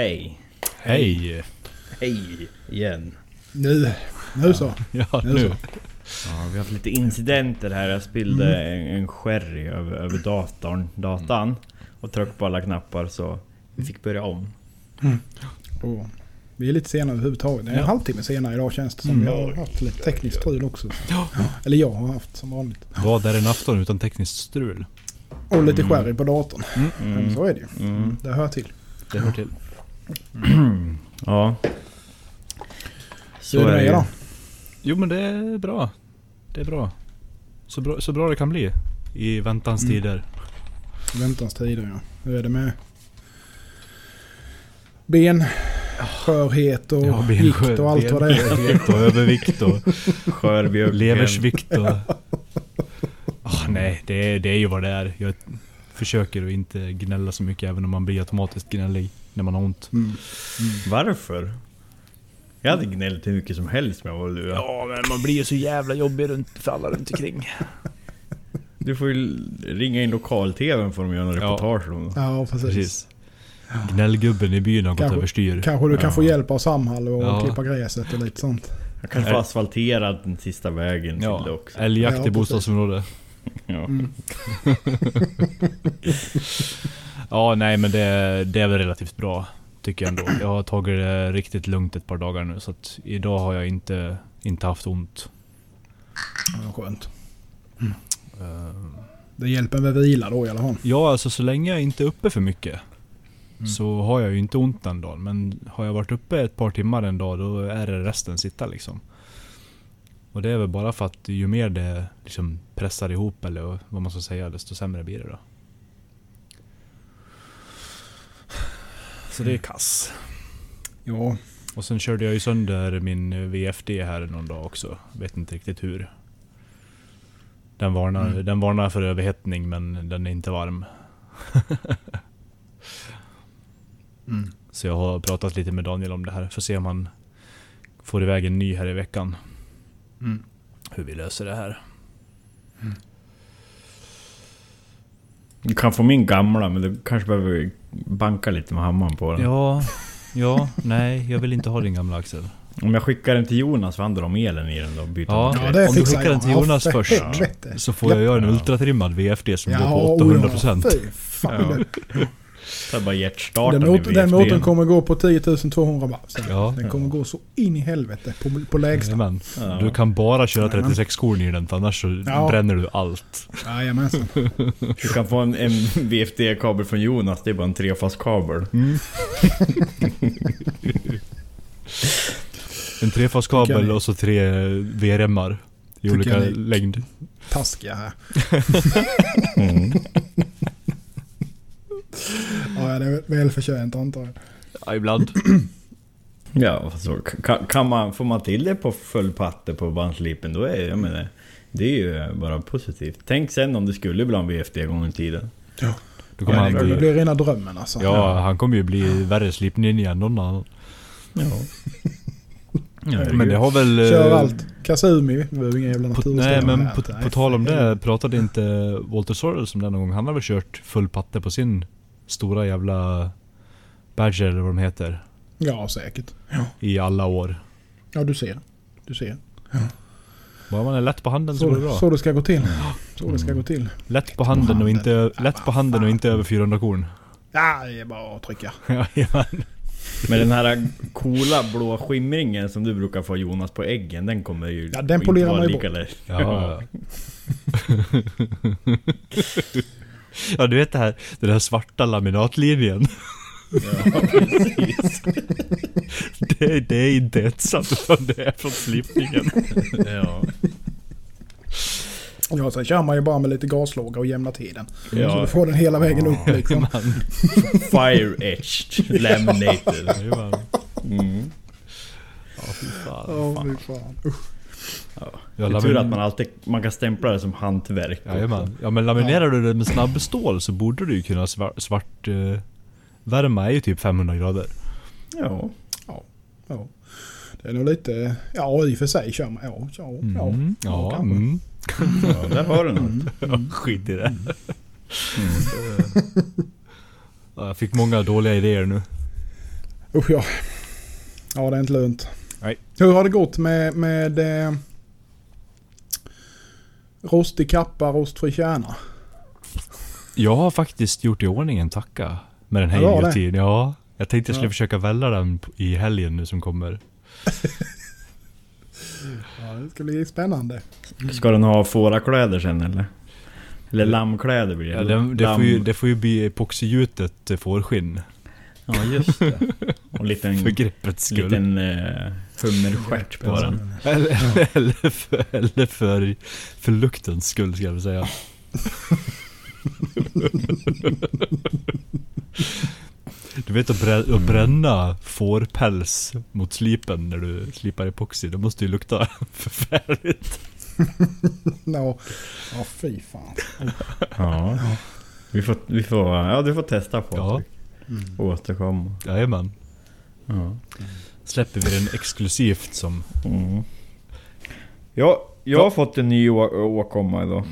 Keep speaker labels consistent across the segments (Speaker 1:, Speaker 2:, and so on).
Speaker 1: Hej.
Speaker 2: Hej!
Speaker 1: Hej igen.
Speaker 3: Nu, nu så.
Speaker 2: Ja,
Speaker 3: Nu
Speaker 2: nu.
Speaker 3: så.
Speaker 1: Ja, vi har haft lite incidenter här. Jag spillde en, en sherry över, över datorn, datan. Och tryckte på alla knappar så vi fick börja om.
Speaker 3: Och vi är lite sena överhuvudtaget. Det är en halvtimme sena idag känns det som. Vi har haft lite tekniskt strul också. Så. Eller jag har haft som vanligt.
Speaker 2: Vad är en afton utan tekniskt strul?
Speaker 3: Och lite sherry på datorn. Men så är det ju. Det hör till.
Speaker 2: Det hör till.
Speaker 1: Ja.
Speaker 3: Så är det med er då.
Speaker 2: Jo men det är bra. Det är bra. Så bra, så bra det kan bli. I väntans tider.
Speaker 3: Väntans tider ja. Hur är det med ben, skörhet och
Speaker 2: Ja,
Speaker 3: gikt och allt vad det är?
Speaker 2: Benskörhet och övervikt och
Speaker 1: Skörbjuggen.
Speaker 2: leversvikt och... Ah, nej, det är, det är ju vad det är. Jag försöker att inte gnälla så mycket även om man blir automatiskt gnällig när man har ont.
Speaker 1: Varför? Jag hade gnällt hur mycket som helst med vad du
Speaker 2: Ja, men man blir ju så jävla jobbig runt, för alla runt omkring.
Speaker 1: Du får ju ringa in lokal-tvn för de göra en reportage om det.
Speaker 3: Ja, precis.
Speaker 2: Precis. Gnällgubben i byn har gått
Speaker 3: Kanske-
Speaker 2: överstyr.
Speaker 3: Kanske du kan få hjälp av Samhall och
Speaker 2: Ja.
Speaker 3: klippa gräset och lite sånt.
Speaker 1: Jag kanske får asfaltera den sista vägen till det
Speaker 2: Ja,
Speaker 1: också.
Speaker 2: älgjakt i
Speaker 3: Ja, precis.
Speaker 2: bostadsområde.
Speaker 1: Ja.
Speaker 2: Ja, nej men det, det är väl relativt bra. Tycker jag ändå. Jag har tagit det riktigt lugnt ett par dagar nu så att idag har jag inte, inte haft ont.
Speaker 3: Ja, skönt. Mm. Det hjälper med vila då i alla fall.
Speaker 2: Ja, alltså så länge jag inte är uppe för mycket så har jag ju inte ont den dagen. Men har jag varit uppe ett par timmar en dag då är det resten sitta liksom. Och det är väl bara för att ju mer det liksom pressar ihop eller vad man ska säga desto sämre blir det då. Så det är kass.
Speaker 3: Ja,
Speaker 2: Och sen körde jag ju sönder min eh, VFD här någon dag också. Vet inte riktigt hur. Den varnar, den varnar för överhettning men den är inte varm. Mm. Så jag har pratat lite med Daniel om det här. Får se om han får iväg en ny här i veckan. Mm. Hur vi löser det här.
Speaker 1: Du kan få min gamla men du kanske behöver banka lite med hammaren på den.
Speaker 2: Ja, ja, nej, jag vill inte ha din gamla Axel.
Speaker 1: Om jag skickar den till Jonas, vad handlar om elen i den då? Byter
Speaker 2: Ja.
Speaker 1: den
Speaker 3: ja
Speaker 1: direkt?
Speaker 3: det
Speaker 2: Om du
Speaker 3: fixar
Speaker 2: skickar
Speaker 3: jag.
Speaker 2: den till
Speaker 3: Ja,
Speaker 2: Jonas
Speaker 3: för
Speaker 2: först
Speaker 3: helvete.
Speaker 2: så får jag göra en ultratrimmad VFD som går på
Speaker 3: oj,
Speaker 2: 800%.
Speaker 3: Ja, fy fan.
Speaker 1: Ja. Det är bara hjärtstarten
Speaker 3: Den,
Speaker 1: i
Speaker 3: motor, den
Speaker 1: VFDn.
Speaker 3: motorn kommer gå på 10 200 varv. sen.
Speaker 2: Ja.
Speaker 3: Den kommer gå så in i helvete på, på lägsta.
Speaker 2: Jajamän. Du kan bara köra 36 korn i den för annars så
Speaker 3: Ja.
Speaker 2: bränner du allt.
Speaker 3: Jajamensan.
Speaker 1: Du kan få en, en VFD-kabel från Jonas, det är bara en trefas-kabel.
Speaker 3: Mm.
Speaker 2: En
Speaker 3: Tycker jag
Speaker 2: trefaskabel
Speaker 3: ni-
Speaker 2: och så tre VRMar i olika
Speaker 3: jag ni-
Speaker 2: längd.
Speaker 3: Taskiga här.
Speaker 2: Mm.
Speaker 3: ja, ja, det är välförtjänt antar jag.
Speaker 2: Ja, ibland.
Speaker 1: Ja, så kan, kan man, får man till det på full patte på bandslipen, då är jag menar, det är ju bara positivt. Tänk sen om det skulle bli en VFD en gång i tiden.
Speaker 3: Ja.
Speaker 2: Då kommer
Speaker 3: Ja,
Speaker 2: han
Speaker 3: det, det
Speaker 2: bli,
Speaker 3: blir rena drömmen alltså.
Speaker 2: ja, han kommer ju bli värre slipninja än någon annan.
Speaker 1: Ja.
Speaker 2: Men det har väl... eh,
Speaker 3: Kör allt. Kasumi, det var ju ingen
Speaker 2: På,
Speaker 3: jävla naturställning.
Speaker 2: nej men på,
Speaker 3: Nej,
Speaker 2: på tal om det, pratade inte Walter Sorrell om det någon gång? Han har väl kört full patte på sin stora jävla Badger eller vad de heter.
Speaker 3: Ja, säkert. Ja,
Speaker 2: I alla år.
Speaker 3: ja du ser. Du ser.
Speaker 2: Bara man är lätt på handen så går det
Speaker 3: Så,
Speaker 2: bra. Mm.
Speaker 3: så det ska gå till. Så det ska gå till.
Speaker 2: Lätt på handen och inte, lätt på handen och inte över 400 korn.
Speaker 3: Ja, det är bara att trycka.
Speaker 2: Jajamän.
Speaker 1: Men den här coola blå skimringen som du brukar få Jonas på äggen, den kommer ju
Speaker 3: Ja, den polerar man ju bort.
Speaker 1: lätt.
Speaker 2: Ja. ja, du vet det här, den här svarta laminatlinjen.
Speaker 1: precis.
Speaker 2: Det, det är inte etsat utan det är från slipningen.
Speaker 1: Ja.
Speaker 3: Ja, sen kör man ju bara med lite gaslåga och jämnar till den. Så
Speaker 1: Ja.
Speaker 3: du får den hela vägen upp liksom.
Speaker 1: Fire etched, laminated.
Speaker 2: Jajamän. Mm. Ja, fy fan.
Speaker 3: Åh, fy fan. Usch.
Speaker 2: Ja,
Speaker 1: Det är tur att
Speaker 2: lamin-
Speaker 1: man alltid man kan stämpla det som hantverk.
Speaker 2: Jajamän. Ja, men laminerar du det med snabbstål så borde du ju kunna svart... svart eh, värma är ju typ 500 grader.
Speaker 1: Ja.
Speaker 3: Ja, ja. Det är nog lite... Ja, i och för sig kör man... Ja, ja, ja.
Speaker 2: Mm.
Speaker 3: ja,
Speaker 2: Ja,
Speaker 3: kanske.
Speaker 2: mm.
Speaker 1: ja, där har du något.
Speaker 3: Mm.
Speaker 2: Skit i det. Mm. Ja, jag fick många dåliga idéer nu.
Speaker 3: Usch ja. Ja, det är inte lönt.
Speaker 2: Nej.
Speaker 3: Hur har det gått med, med eh, rostig kappa, rostfri kärna?
Speaker 2: Jag har faktiskt gjort i ordning en tacka med den här
Speaker 3: Ja, det.
Speaker 2: idiotiden. Ja, jag tänkte jag skulle
Speaker 3: Ja.
Speaker 2: försöka välja den p- i helgen nu som kommer.
Speaker 3: Ja, det ska bli spännande.
Speaker 1: Ska den ha fårakläder sen eller? Eller lammkläder blir det.
Speaker 2: Ja, det, det,
Speaker 1: Lamm-
Speaker 2: får ju, det får ju bli epoxigjutet eh, fårskinn.
Speaker 1: Ja just det. Och en liten,
Speaker 2: För greppets skull.
Speaker 1: liten eh, hummerstjärt på den.
Speaker 2: Eller, eller, för, eller för, för luktens skull ska jag väl säga. Du vet att, brä, att bränna fårpäls mot slipen när du slipar epoxi, det måste ju lukta förfärligt.
Speaker 3: Ja, ja fy fan.
Speaker 1: Ja. Vi får, vi får, ja du får testa på
Speaker 2: Ja.
Speaker 1: och återkomma.
Speaker 2: Jajamän.
Speaker 1: Ja.
Speaker 2: Släpper vi den exklusivt som...
Speaker 1: Mm. Ja, jag har fått en ny å- åkomma idag.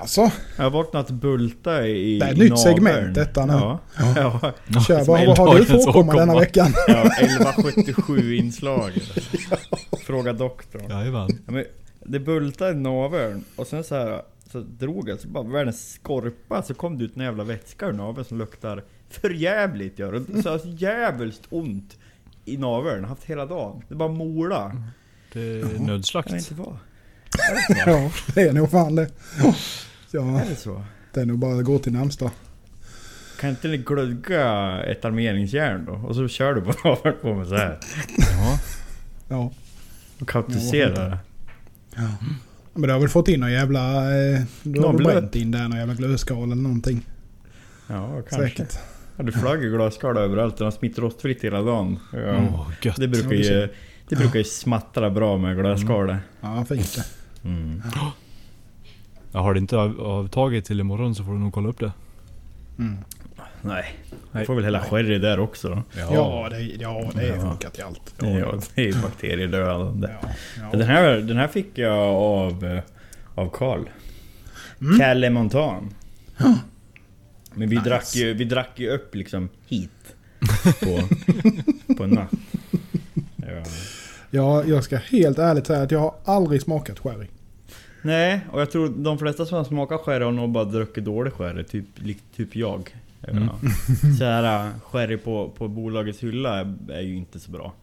Speaker 3: Alltså,
Speaker 1: Jag har vaknat bulta i
Speaker 3: Det är ett
Speaker 1: i
Speaker 3: nytt
Speaker 1: naveln.
Speaker 3: segment detta nu.
Speaker 1: Ja, ja.
Speaker 3: kör bara.
Speaker 2: Som
Speaker 3: Vad har du
Speaker 2: elddagens
Speaker 3: för åkomma denna veckan?
Speaker 1: ja 1177 inslag. Fråga doktorn.
Speaker 2: Jajamän.
Speaker 1: Ja, men det bultade i naveln och sen så här så drog jag så bara världens skorpa så kom det ut en jävla vätska ur naveln som luktar förjävligt gör det. Så alltså, jävligt ont i naveln, haft hela dagen. Det bara
Speaker 3: Mm.
Speaker 1: mola.
Speaker 2: Det är
Speaker 1: Jag vet
Speaker 2: nödslakt.
Speaker 1: inte vad.
Speaker 3: Ja, det är nog fan det. Ja,
Speaker 1: Är det så?
Speaker 3: det är nog bara att gå till närmsta.
Speaker 1: Kan inte ni glugga ett armeringsjärn då? Och så kör du på naveln på mig så här.
Speaker 2: Ja.
Speaker 3: Ja.
Speaker 1: Och kaptiserar det.
Speaker 3: ja. Men du har väl fått in någon jävla... Eh, du har väl
Speaker 1: Någon
Speaker 3: bränt in där någon jävla glödskal eller någonting.
Speaker 1: Ja, kanske.
Speaker 3: Säkert.
Speaker 1: Ja, du flagg i glasskal överallt. Den har smitt rostfritt hela dagen. Mm. Ja.
Speaker 2: Åh, gött.
Speaker 1: Det brukar ju, det brukar ju smattra bra med glasskalet.
Speaker 3: Ja, fint det.
Speaker 1: Mm.
Speaker 2: Jag har det inte av, avtaget till imorgon så får du nog kolla upp det.
Speaker 3: Mm.
Speaker 1: Nej.
Speaker 2: Nej.
Speaker 1: Du får väl hela sherry där också då.
Speaker 3: Ja, det, ja, det är
Speaker 1: Ja.
Speaker 3: funkat i allt.
Speaker 1: Ja, det är ju bakteriedödande.
Speaker 3: Ja, ja.
Speaker 1: Den, här, den här fick jag av, eh, av Carl. Calle Montan. Men vi,
Speaker 3: Nice.
Speaker 1: drack ju, vi drack ju upp liksom hit. På, på en natt. Ja.
Speaker 3: Ja, jag ska helt ärligt säga att jag har aldrig smakat sherry.
Speaker 1: Nej, och jag tror de flesta som har smakat sherry har nog bara druckit dålig sherry. Typ, lik- typ jag. Ja. Så här, eh, sherry på, på bolagets hylla är, är ju inte så bra.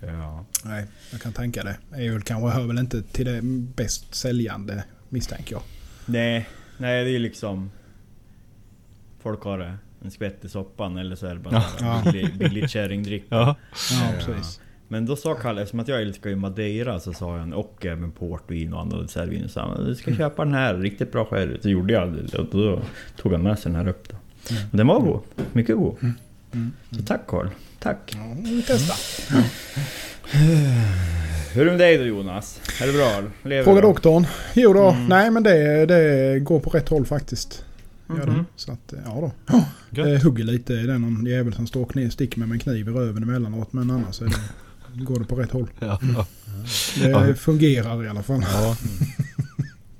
Speaker 1: Ja.
Speaker 3: Nej, jag kan tänka det. Öl kanske hör väl inte till det bäst säljande misstänker jag.
Speaker 1: Nej, nej det är liksom... Folk har det. En skvätt i soppan eller så är det bara ja.
Speaker 3: Ja.
Speaker 1: billig, billig kärringdricka.
Speaker 2: Ja.
Speaker 3: Ja, precis.
Speaker 1: Men då sa Kalle, eftersom att jag älskar ju Madeira så sa han och även portvin och andra dessertviner. Så han, du ska köpa den här, riktigt bra sherry. Så gjorde jag det och då tog han med sig den här upp då. Och den var god, mycket god. Så tack Karl, tack.
Speaker 3: Ja, vi testar.
Speaker 1: Hur är det med dig då Jonas? Är det bra? Lever
Speaker 3: Fråga
Speaker 1: du?
Speaker 3: doktorn. Jo då,
Speaker 1: Mm.
Speaker 3: nej men det, det går på rätt håll faktiskt.
Speaker 1: Mm.
Speaker 3: Gör det. Så att, ja då.
Speaker 2: Gött.
Speaker 3: Det Eh, hugger lite i den någon jävel som står kniv, stick med en kniv i röven emellanåt. Men annars är det, går det på rätt håll.
Speaker 1: Eh.
Speaker 2: Ja.
Speaker 3: Det
Speaker 2: Ja.
Speaker 3: fungerar i alla fall.
Speaker 2: ja.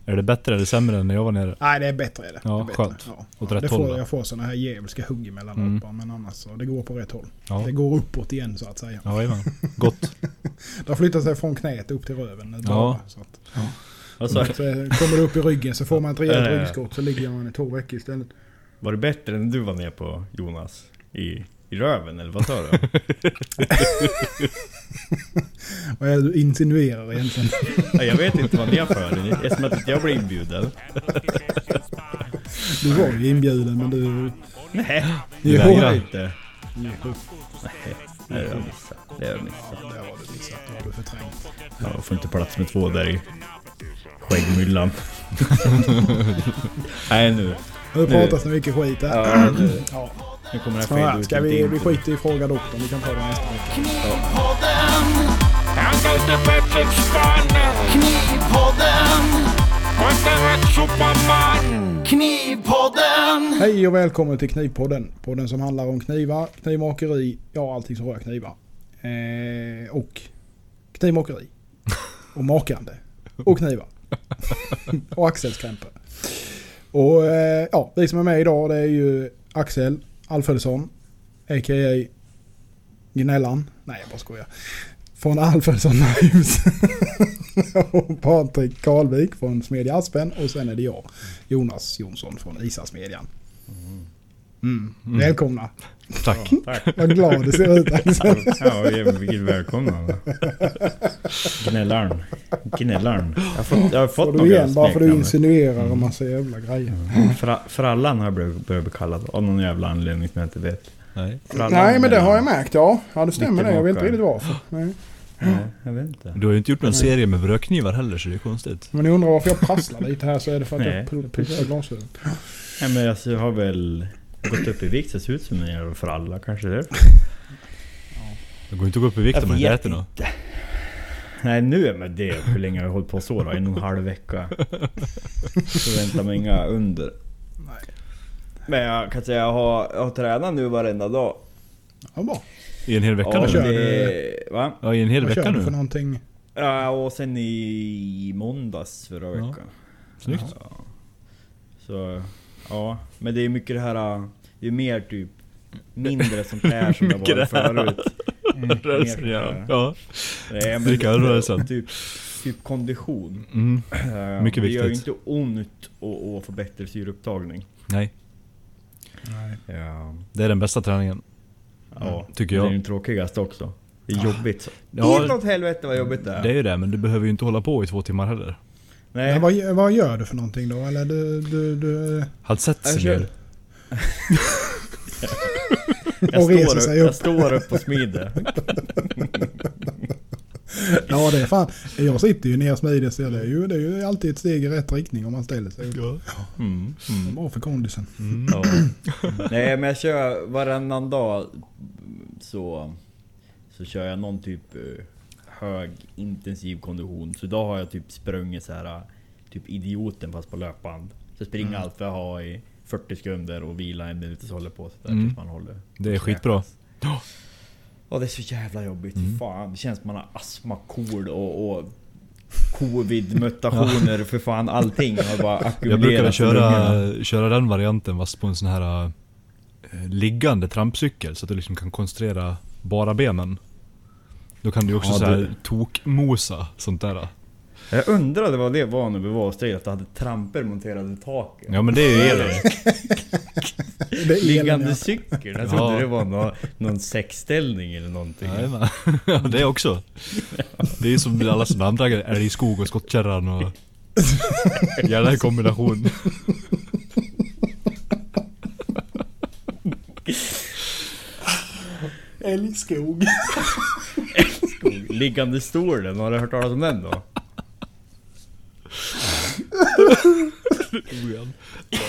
Speaker 2: Är det bättre eller sämre än när jag var nere?
Speaker 3: Nej, det är bättre. Är det.
Speaker 2: Ja,
Speaker 3: det är bättre.
Speaker 2: skönt.
Speaker 3: Ja.
Speaker 2: Åt
Speaker 3: Ja,
Speaker 2: rätt
Speaker 3: det
Speaker 2: håll,
Speaker 3: får,
Speaker 2: va?
Speaker 3: jag får sådana här djävulska hugg emellanåt
Speaker 2: Mm.
Speaker 3: bara, men annars så det går på rätt håll.
Speaker 2: Ja.
Speaker 3: Det går uppåt igen så att säga.
Speaker 2: Ja, jajamän. Gott.
Speaker 3: Det har flyttat sig från knät upp till röven. nu
Speaker 2: Ja.
Speaker 3: bara, Så, att,
Speaker 1: Vad sa jag?
Speaker 3: så eh, kommer det upp i ryggen så får man ett rejält
Speaker 1: Ja, ja, ja.
Speaker 3: ryggskott så ligger man i två veckor istället.
Speaker 1: Var det bättre än du var ner på Jonas? I, i röven eller vad sa du?
Speaker 3: Vad är det du insinuerar egentligen?
Speaker 1: Ja, Jag vet inte vad ni har för er, eftersom att inte jag blir inbjuden.
Speaker 3: Du var ju inbjuden men du...
Speaker 1: Nej,
Speaker 3: Jo,
Speaker 1: det
Speaker 2: vägrar.
Speaker 1: har jag inte. Nej, det har jag missat. Det har jag missat.
Speaker 3: Där har du missat. Det har du förträngt.
Speaker 1: Jag får inte plats med två där i skäggmyllan. Nej nu.
Speaker 3: Nu pratas det mycket skit här.
Speaker 1: Ja, nu.
Speaker 3: Ja.
Speaker 1: Nu kommer det
Speaker 3: Så
Speaker 1: här
Speaker 3: här,
Speaker 1: skit
Speaker 3: ska vi, vi skiter i Fråga Doktorn. Vi kan ta det nästa vecka.
Speaker 4: Knipodden. Han heter Patrik Spanne. Knipodden. Och inte ett superman. Knipodden.
Speaker 3: Hej och välkommen till Knivpodden. Podden som handlar om knivar, knivmakeri, ja allting som rör knivar. Eh, och knivmakeri. Och makande. Och knivar. och axelskrämpor. Och eh, ja, vi som är med idag det är ju Axel Alfredsson. A.k.a. Gnällan. Nej, jag bara skojar. Från Alfredsson Hus. och Patrik Karlvik från Smedja Aspen. Och sen är det jag, Jonas Jonsson från Isasmedjan. Mm. Välkomna.
Speaker 2: Tack.
Speaker 1: Tack.
Speaker 3: Vad glad du ser ut Alltså. Axel.
Speaker 1: Ja, vilket välkomnande. Gnällaren. Gnällaren. Jag har fått, jag har fått
Speaker 3: Får du igen bara för
Speaker 1: smeknamn.
Speaker 3: du insinuerar
Speaker 1: Mm.
Speaker 3: en massa jävla grejer.
Speaker 1: Fra, frallan har jag blivit blivit kallad av någon jävla anledning som jag inte vet.
Speaker 2: Nej.
Speaker 1: Frallan
Speaker 3: Nej men det
Speaker 1: eller-
Speaker 3: har jag märkt ja. Ja det stämmer
Speaker 1: Vilken
Speaker 3: det. Jag vet inte
Speaker 1: maka.
Speaker 3: riktigt varför. Nej.
Speaker 2: Mm.
Speaker 1: Nej, jag vet inte.
Speaker 2: Du har ju inte gjort
Speaker 1: Mm.
Speaker 2: någon serie med brödknivar heller så det är konstigt.
Speaker 3: Om ni undrar varför jag prasslar lite här så är det för att
Speaker 1: Nej,
Speaker 3: jag pr- putsar glasögon.
Speaker 1: Nej, men alltså, jag har väl gått upp i vikt så det ser ut som en jävla fralla kanske. Det.
Speaker 2: Det går inte att gå upp i vikt om man inte
Speaker 1: Jag vet
Speaker 2: äter något.
Speaker 1: Nej nu är med det hur länge har jag hållit på så då? En och en halv vecka. Förväntar mig inga under.
Speaker 3: Nej.
Speaker 1: Men jag kan säga jag har, jag har tränat nu varenda dag.
Speaker 3: Ja, bra.
Speaker 2: I en hel vecka
Speaker 1: Ja,
Speaker 3: kör
Speaker 2: nu?
Speaker 3: du.
Speaker 1: det, va?
Speaker 2: Ja, i en hel
Speaker 3: Vad kör
Speaker 2: vecka
Speaker 3: du för
Speaker 2: nu.
Speaker 3: någonting?
Speaker 1: Ja, och sen i måndags förra
Speaker 2: Ja.
Speaker 1: veckan.
Speaker 2: Snyggt.
Speaker 1: Ja. Så, ja. Men det är mycket det här... äh, Det är mer typ mindre sånt där som det var
Speaker 2: Mycket det här.
Speaker 1: förut. Mm,
Speaker 2: Rörelsen
Speaker 1: mer
Speaker 2: ja.
Speaker 1: det här.
Speaker 2: ja.
Speaker 1: Nej, men
Speaker 2: Dricka rörelsen.
Speaker 1: Typ, typ kondition.
Speaker 2: Mm.
Speaker 1: Äh,
Speaker 2: Mycket
Speaker 1: Det gör ju
Speaker 2: viktigt.
Speaker 1: inte ont att- att få bättre syreupptagning.
Speaker 2: Nej,
Speaker 3: Nej.
Speaker 1: Ja,
Speaker 2: det är den bästa träningen.
Speaker 1: ja. Det
Speaker 2: tycker jag. Ah.
Speaker 1: är ju den tråkigaste också. Det är jobbigt. Så.
Speaker 2: Ja.
Speaker 1: Inåt helvete vad jobbigt det är.
Speaker 2: Det är ju det, men du behöver ju inte hålla på i två timmar heller.
Speaker 1: Nej,
Speaker 3: Men vad, vad gör du för någonting då? Eller du... du, du
Speaker 2: Han sätter
Speaker 1: Jag
Speaker 2: sig
Speaker 1: kör-
Speaker 2: ner.
Speaker 1: jag,
Speaker 3: och
Speaker 1: står
Speaker 3: reser
Speaker 1: upp,
Speaker 3: sig
Speaker 1: jag
Speaker 3: upp.
Speaker 1: står upp och smider.
Speaker 3: ja det är fan. Jag sitter ju ner och smider så det är, ju, det är ju alltid ett steg i rätt riktning om man ställer sig upp.
Speaker 2: Ja.
Speaker 1: Mm.
Speaker 3: Det är Bra för kondisen.
Speaker 1: Ja. Nej men jag kör varannan dag så, så kör jag någon typ eh, hög intensiv kondition. Så idag har jag typ sprungit så här typ idioten fast på löpband. Så jag
Speaker 2: Mm.
Speaker 1: springer allt vad jag har i 40 sekunder och vila en minut och så håller jag på sådär
Speaker 2: Mm.
Speaker 1: tills man håller.
Speaker 2: Det är skitbra. Ja.
Speaker 1: Ja det är så jävla jobbigt.
Speaker 2: Mm.
Speaker 1: Fan, det känns som man har astma, KOL och, och covid-mutationer för fan allting har bara
Speaker 2: Jag
Speaker 1: ackumulerats
Speaker 2: brukade
Speaker 1: i lungorna.
Speaker 2: köra, köra den varianten fast på en sån här eh, liggande trampcykel så att du liksom kan koncentrera bara benen. Då kan du ju också
Speaker 1: Ja,
Speaker 2: så här
Speaker 1: du-
Speaker 2: tokmosa sånt där.
Speaker 1: Jag undrade vad det var när vi var hos dig, att du hade tramper monterade i taket.
Speaker 2: Ja men det är ju elin.
Speaker 3: Det är elen,
Speaker 1: Liggande
Speaker 3: ja.
Speaker 1: cykel? Jag trodde
Speaker 2: Ja.
Speaker 1: det var någon, någon sexställning eller någonting.
Speaker 2: Jajamän. Ja, det också. Det är ju som alla som namndragare, älgskog och skottkärran och... Gärna i kombination.
Speaker 3: Älgskog.
Speaker 1: Liggande stolen, har du hört talas om den då?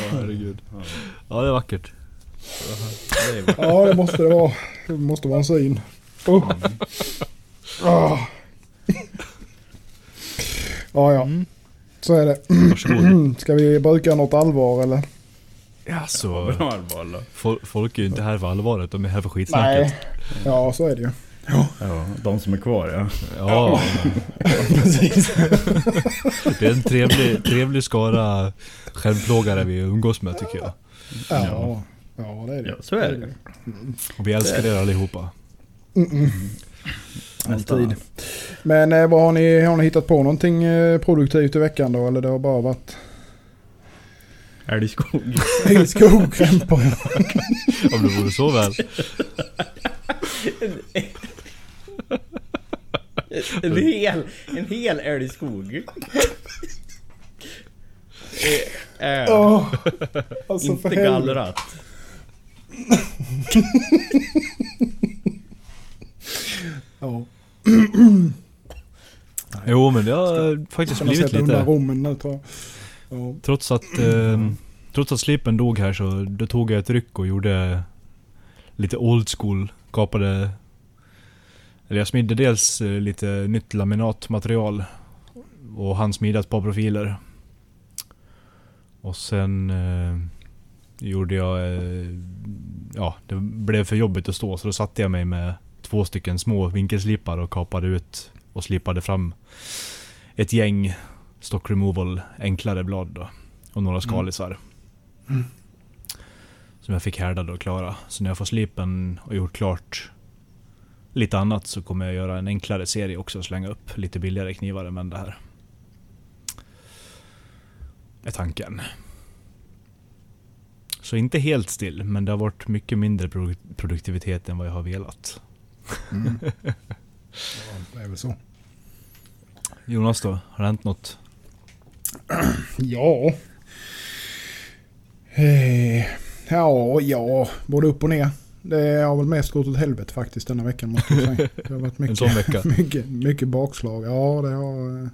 Speaker 2: Herregud. Ja det är vackert.
Speaker 1: Det är bara-
Speaker 3: Ja det måste det vara. Det måste vara en syn. Oh. Ah. Ja ja. Så är det.
Speaker 2: Varsågod.
Speaker 3: Ska vi bruka något allvar eller?
Speaker 2: Alltså,
Speaker 1: Bra Arval då.
Speaker 2: fol- folk är ju inte här för allvaret, de är här för skitsnacket.
Speaker 3: Nej. Ja så är det ju.
Speaker 1: Ja, de som är kvar ja.
Speaker 2: Ja. Det är en trevlig, trevlig skara självplågare vi umgås med tycker jag.
Speaker 3: Ja. Ja det är det.
Speaker 1: ja så är det.
Speaker 2: Och vi älskar er allihopa.
Speaker 1: Nästan.
Speaker 3: Alltid. Men eh, vad har ni, har ni hittat på någonting eh, produktivt i veckan då? Eller det har bara varit
Speaker 1: Älgskog.
Speaker 3: älgskog, krämpor?
Speaker 2: Om det vore så väl.
Speaker 1: En hel, en hel älgskog. Det är
Speaker 3: Åh, alltså
Speaker 1: inte
Speaker 3: för helvete.
Speaker 1: gallrat.
Speaker 3: Ja,
Speaker 2: Jo men det har faktiskt
Speaker 3: kan man
Speaker 2: blivit
Speaker 3: sätta undan
Speaker 2: lite.
Speaker 3: rommen nu tror jag. Ja.
Speaker 2: Trots att, eh, trots att slipen dog här så då tog jag ett ryck och gjorde lite old school. Kapade... Eller jag smidde dels eh, lite nytt laminatmaterial. Och handsmidde ett par profiler. Och sen eh, gjorde jag... Eh, ja, det blev för jobbigt att stå så då satte jag mig med två stycken små vinkelslipar och kapade ut och slipade fram ett gäng stock removal enklare blad då. Och några skalisar. Som jag fick härdade och klara. Så när jag får slipen och gjort klart lite annat så kommer jag göra en enklare serie också och slänga upp lite billigare knivar än det här. Är tanken. Så inte helt still, men det har varit mycket mindre produ- produktivitet än vad jag har velat.
Speaker 3: Ja, Det är väl så.
Speaker 2: Jonas då? Har det hänt något?
Speaker 3: Ja. Eh, ja, ja. Både upp och ner. Det har väl mest gått åt helvete faktiskt denna veckan måste jag säga. Det har varit
Speaker 2: En
Speaker 3: mycket,
Speaker 2: sån vecka?
Speaker 3: mycket, mycket bakslag. Ja, det har... eh,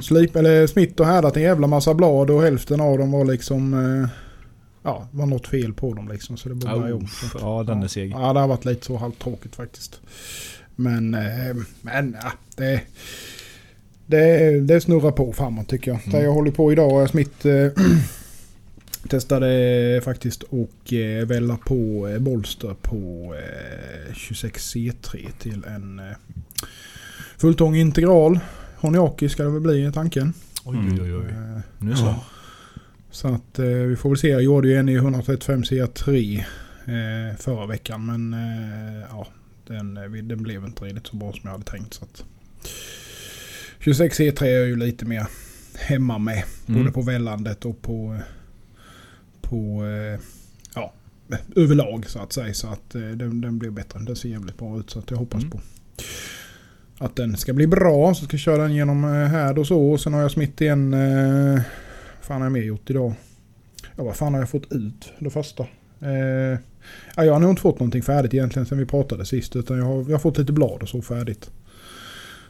Speaker 3: Slip, eller smitt och härdat en jävla massa blad och hälften av dem var liksom... eh, Ja, det var något fel på dem liksom. Så det borde
Speaker 2: Ja,
Speaker 3: oh, om.
Speaker 2: uff, ja, den är seg.
Speaker 3: Ja, det har varit lite så halvtråkigt faktiskt. Men, eh, men ja, det, det, det snurrar på framåt tycker jag. Där jag håller på idag har jag smitt... Eh, testade faktiskt och eh, välla på eh, bolster på eh, 26C3 till en eh, fulltång integral. Honiaki ska det väl bli i tanken.
Speaker 2: Oj,
Speaker 1: Mm.
Speaker 2: oj, oj, oj.
Speaker 3: Eh,
Speaker 2: Nu så.
Speaker 3: så att eh, vi får väl se. Jag gjorde ju en i 135 CA3 eh, förra veckan. Men eh, ja, den, eh, vi- den blev inte riktigt så bra som jag hade tänkt. Så att 26 CA3 är jag ju lite mer hemma med. Både
Speaker 2: Mm.
Speaker 3: på vällandet och på, eh, på eh, ja, överlag så att säga. Så att eh, den, den blev bättre. Den ser jävligt bra ut så att jag hoppas
Speaker 2: Mm.
Speaker 3: på att den ska bli bra. Så ska jag köra den genom eh, här och så. Och sen har jag smitt igen. Eh, fan har jag mer gjort idag? Ja vad fan har jag fått ut det första? Eh, ja, jag har nog inte fått någonting färdigt egentligen sen vi pratade sist. Utan jag har, jag har fått lite blad och så färdigt.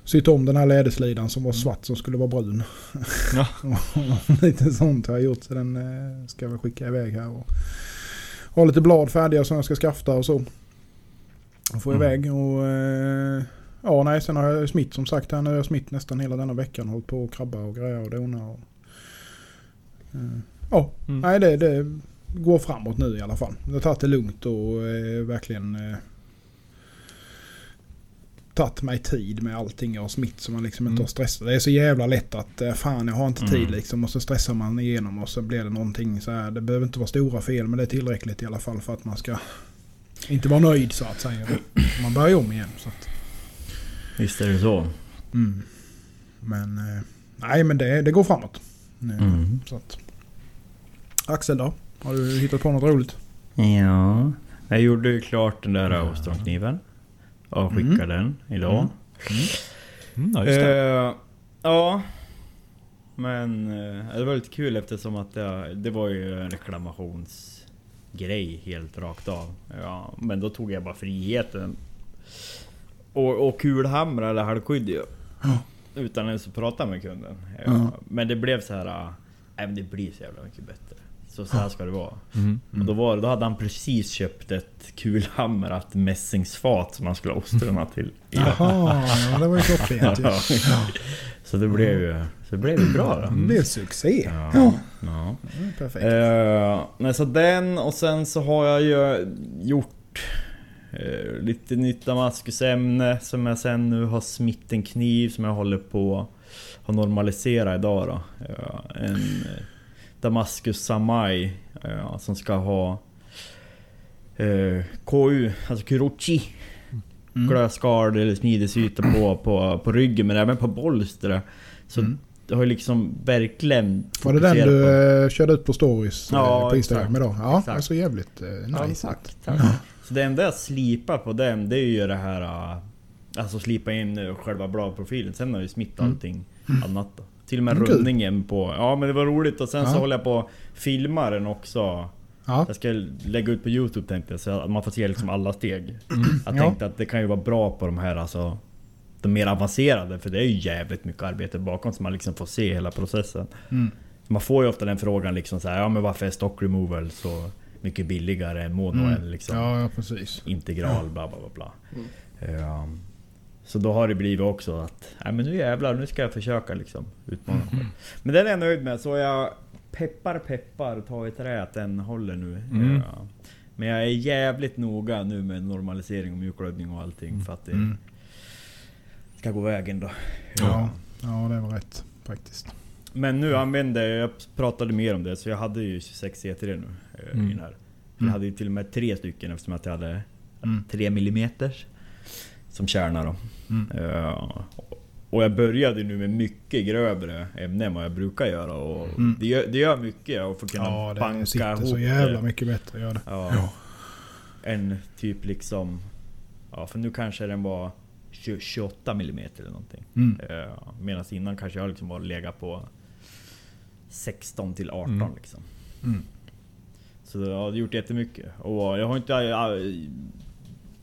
Speaker 3: Sytt om den här läderslidan som var svart som skulle vara brun.
Speaker 2: Mm. Ja.
Speaker 3: Och lite sånt har jag gjort. Så den eh, ska jag väl skicka iväg här. Och ha lite blad färdiga som jag ska skafta och så. Och få
Speaker 2: Mm.
Speaker 3: iväg. Och, eh, ja, nej, sen har jag ju smitt som sagt. Här nu har jag smitt nästan hela denna veckan. Hållit på och krabba och grejer och donar. Och, eh, ja,
Speaker 2: Mm.
Speaker 3: nej det, det går framåt nu i alla fall. Jag har tagit det lugnt och eh, verkligen eh, tagit mig tid med allting jag har smitt som man liksom inte
Speaker 2: Mm.
Speaker 3: har stressat. Det är så jävla lätt att eh, fan jag har inte tid
Speaker 1: Mm.
Speaker 3: liksom och så stressar man igenom och så blir det någonting så här. Det behöver inte vara stora fel men det är tillräckligt i alla fall för att man ska inte vara nöjd så att säga. Man börjar ju om igen. Så att,
Speaker 1: Visst är det så.
Speaker 3: mm. Men eh, nej men det, det går framåt. Eh,
Speaker 1: Mm.
Speaker 3: Så att. Axel då? Har du hittat på något roligt?
Speaker 1: Ja. Jag gjorde ju klart den där Austronkniven. Och skickade den idag.
Speaker 3: Mm.
Speaker 2: Mm, ja, just det.
Speaker 1: Eh, ja. Men eh, det var lite kul eftersom att det, det var ju en reklamationsgrej helt rakt av. Ja, men då tog jag bara friheten. Och, och kulhamra eller halvskydd ju. Utan ens att prata med kunden. Ja.
Speaker 3: Ja.
Speaker 1: Men det blev så här. ah, Nej men det blir så jävla mycket bättre. Så, så här ska det vara.
Speaker 2: Mm.
Speaker 1: Och då, var, det- då hade han precis köpt ett kulhamrat mässingsfat som han skulle ha ostrorna till.
Speaker 3: Jaha, ja, det var ju klockrent ju.
Speaker 1: Ja. Så det blev ju så det blev ju bra då.
Speaker 3: Det blev succé.
Speaker 1: Mm. Ja. ja.
Speaker 3: Mm, perfekt.
Speaker 1: Eh, nej, så den och sen så har jag ju gjort eh, lite nytt damaskusämne som jag sen nu har smitt en kniv som jag håller på att normalisera idag då. Eh, en eh, Damaskus Samai eh, som ska ha eh, KU, alltså Kurochi.
Speaker 3: Mm.
Speaker 1: Glödskal eller smidesyta på, på, på ryggen men även på bolstret. Så det har ju liksom verkligen
Speaker 3: Mm. Var det den
Speaker 1: fokuserat
Speaker 3: du
Speaker 1: på-
Speaker 3: eh, körde ut på stories eh,
Speaker 1: Ja,
Speaker 3: på Instagram
Speaker 1: exakt.
Speaker 3: idag? Ja,
Speaker 1: Exakt.
Speaker 3: det är så jävligt eh, nice.
Speaker 1: Ja, tack, tack. Så det enda jag slipar på den, det är ju det här... äh, Alltså slipa in eh, själva bladprofilen. Sen har jag ju smitt allting annat då. Till och med
Speaker 3: Mm, kul.
Speaker 1: rundningen på... Ja men det var roligt och sen så
Speaker 3: Ja.
Speaker 1: håller jag på och filmar den också.
Speaker 3: Ja.
Speaker 1: Jag ska lägga ut på Youtube tänkte jag, så att man får se liksom alla steg. Jag
Speaker 3: Mm. Ja.
Speaker 1: tänkte att det kan ju vara bra på de här alltså... De mer avancerade, för det är ju jävligt mycket arbete bakom så man liksom får se hela processen.
Speaker 3: Mm.
Speaker 1: Man får ju ofta den frågan liksom så här, ja men varför är stock removal så mycket billigare än mono
Speaker 3: Mm.
Speaker 1: än liksom
Speaker 3: ja, ja precis.
Speaker 1: integral bla bla bla. bla.
Speaker 3: Mm.
Speaker 1: Ehm, så då har det blivit också att, nej men nu jävlar, nu ska jag försöka liksom utmana mig
Speaker 3: Mm.
Speaker 1: själv. Men den är jag nöjd med, så jag peppar peppar, ta i trä att den håller nu.
Speaker 2: Mm.
Speaker 1: Ehm, men jag är jävligt noga nu med normalisering och mjukglödning och allting för att det
Speaker 3: Mm.
Speaker 1: ska gå vägen då.
Speaker 3: Ja. ja, det var rätt faktiskt.
Speaker 1: Men nu använde jag, jag pratade mer om det, så jag hade ju 26 C3 nu. eh, i
Speaker 2: Mm.
Speaker 1: den här. Jag hade ju till och med tre stycken eftersom att jag hade
Speaker 3: Mm.
Speaker 1: 3 millimeters som kärna då.
Speaker 2: Mm.
Speaker 1: Eh, och jag började nu med mycket grövre ämnen än vad jag brukar göra. Och
Speaker 2: Mm.
Speaker 1: det, gör, det gör mycket att få kunna
Speaker 3: Ja, det
Speaker 1: banka
Speaker 3: sitter
Speaker 1: ihop eh,
Speaker 3: så jävla mycket bättre. Gör det.
Speaker 1: Ja. En typ liksom... Ja, för nu kanske den var 20 28 mm eller någonting.
Speaker 2: Mm.
Speaker 1: Eh, Medan innan kanske jag liksom var legat på 16 till 18
Speaker 2: Mm.
Speaker 1: liksom.
Speaker 2: Mm.
Speaker 1: Så jag har gjort jättemycket. Och jag har inte äh,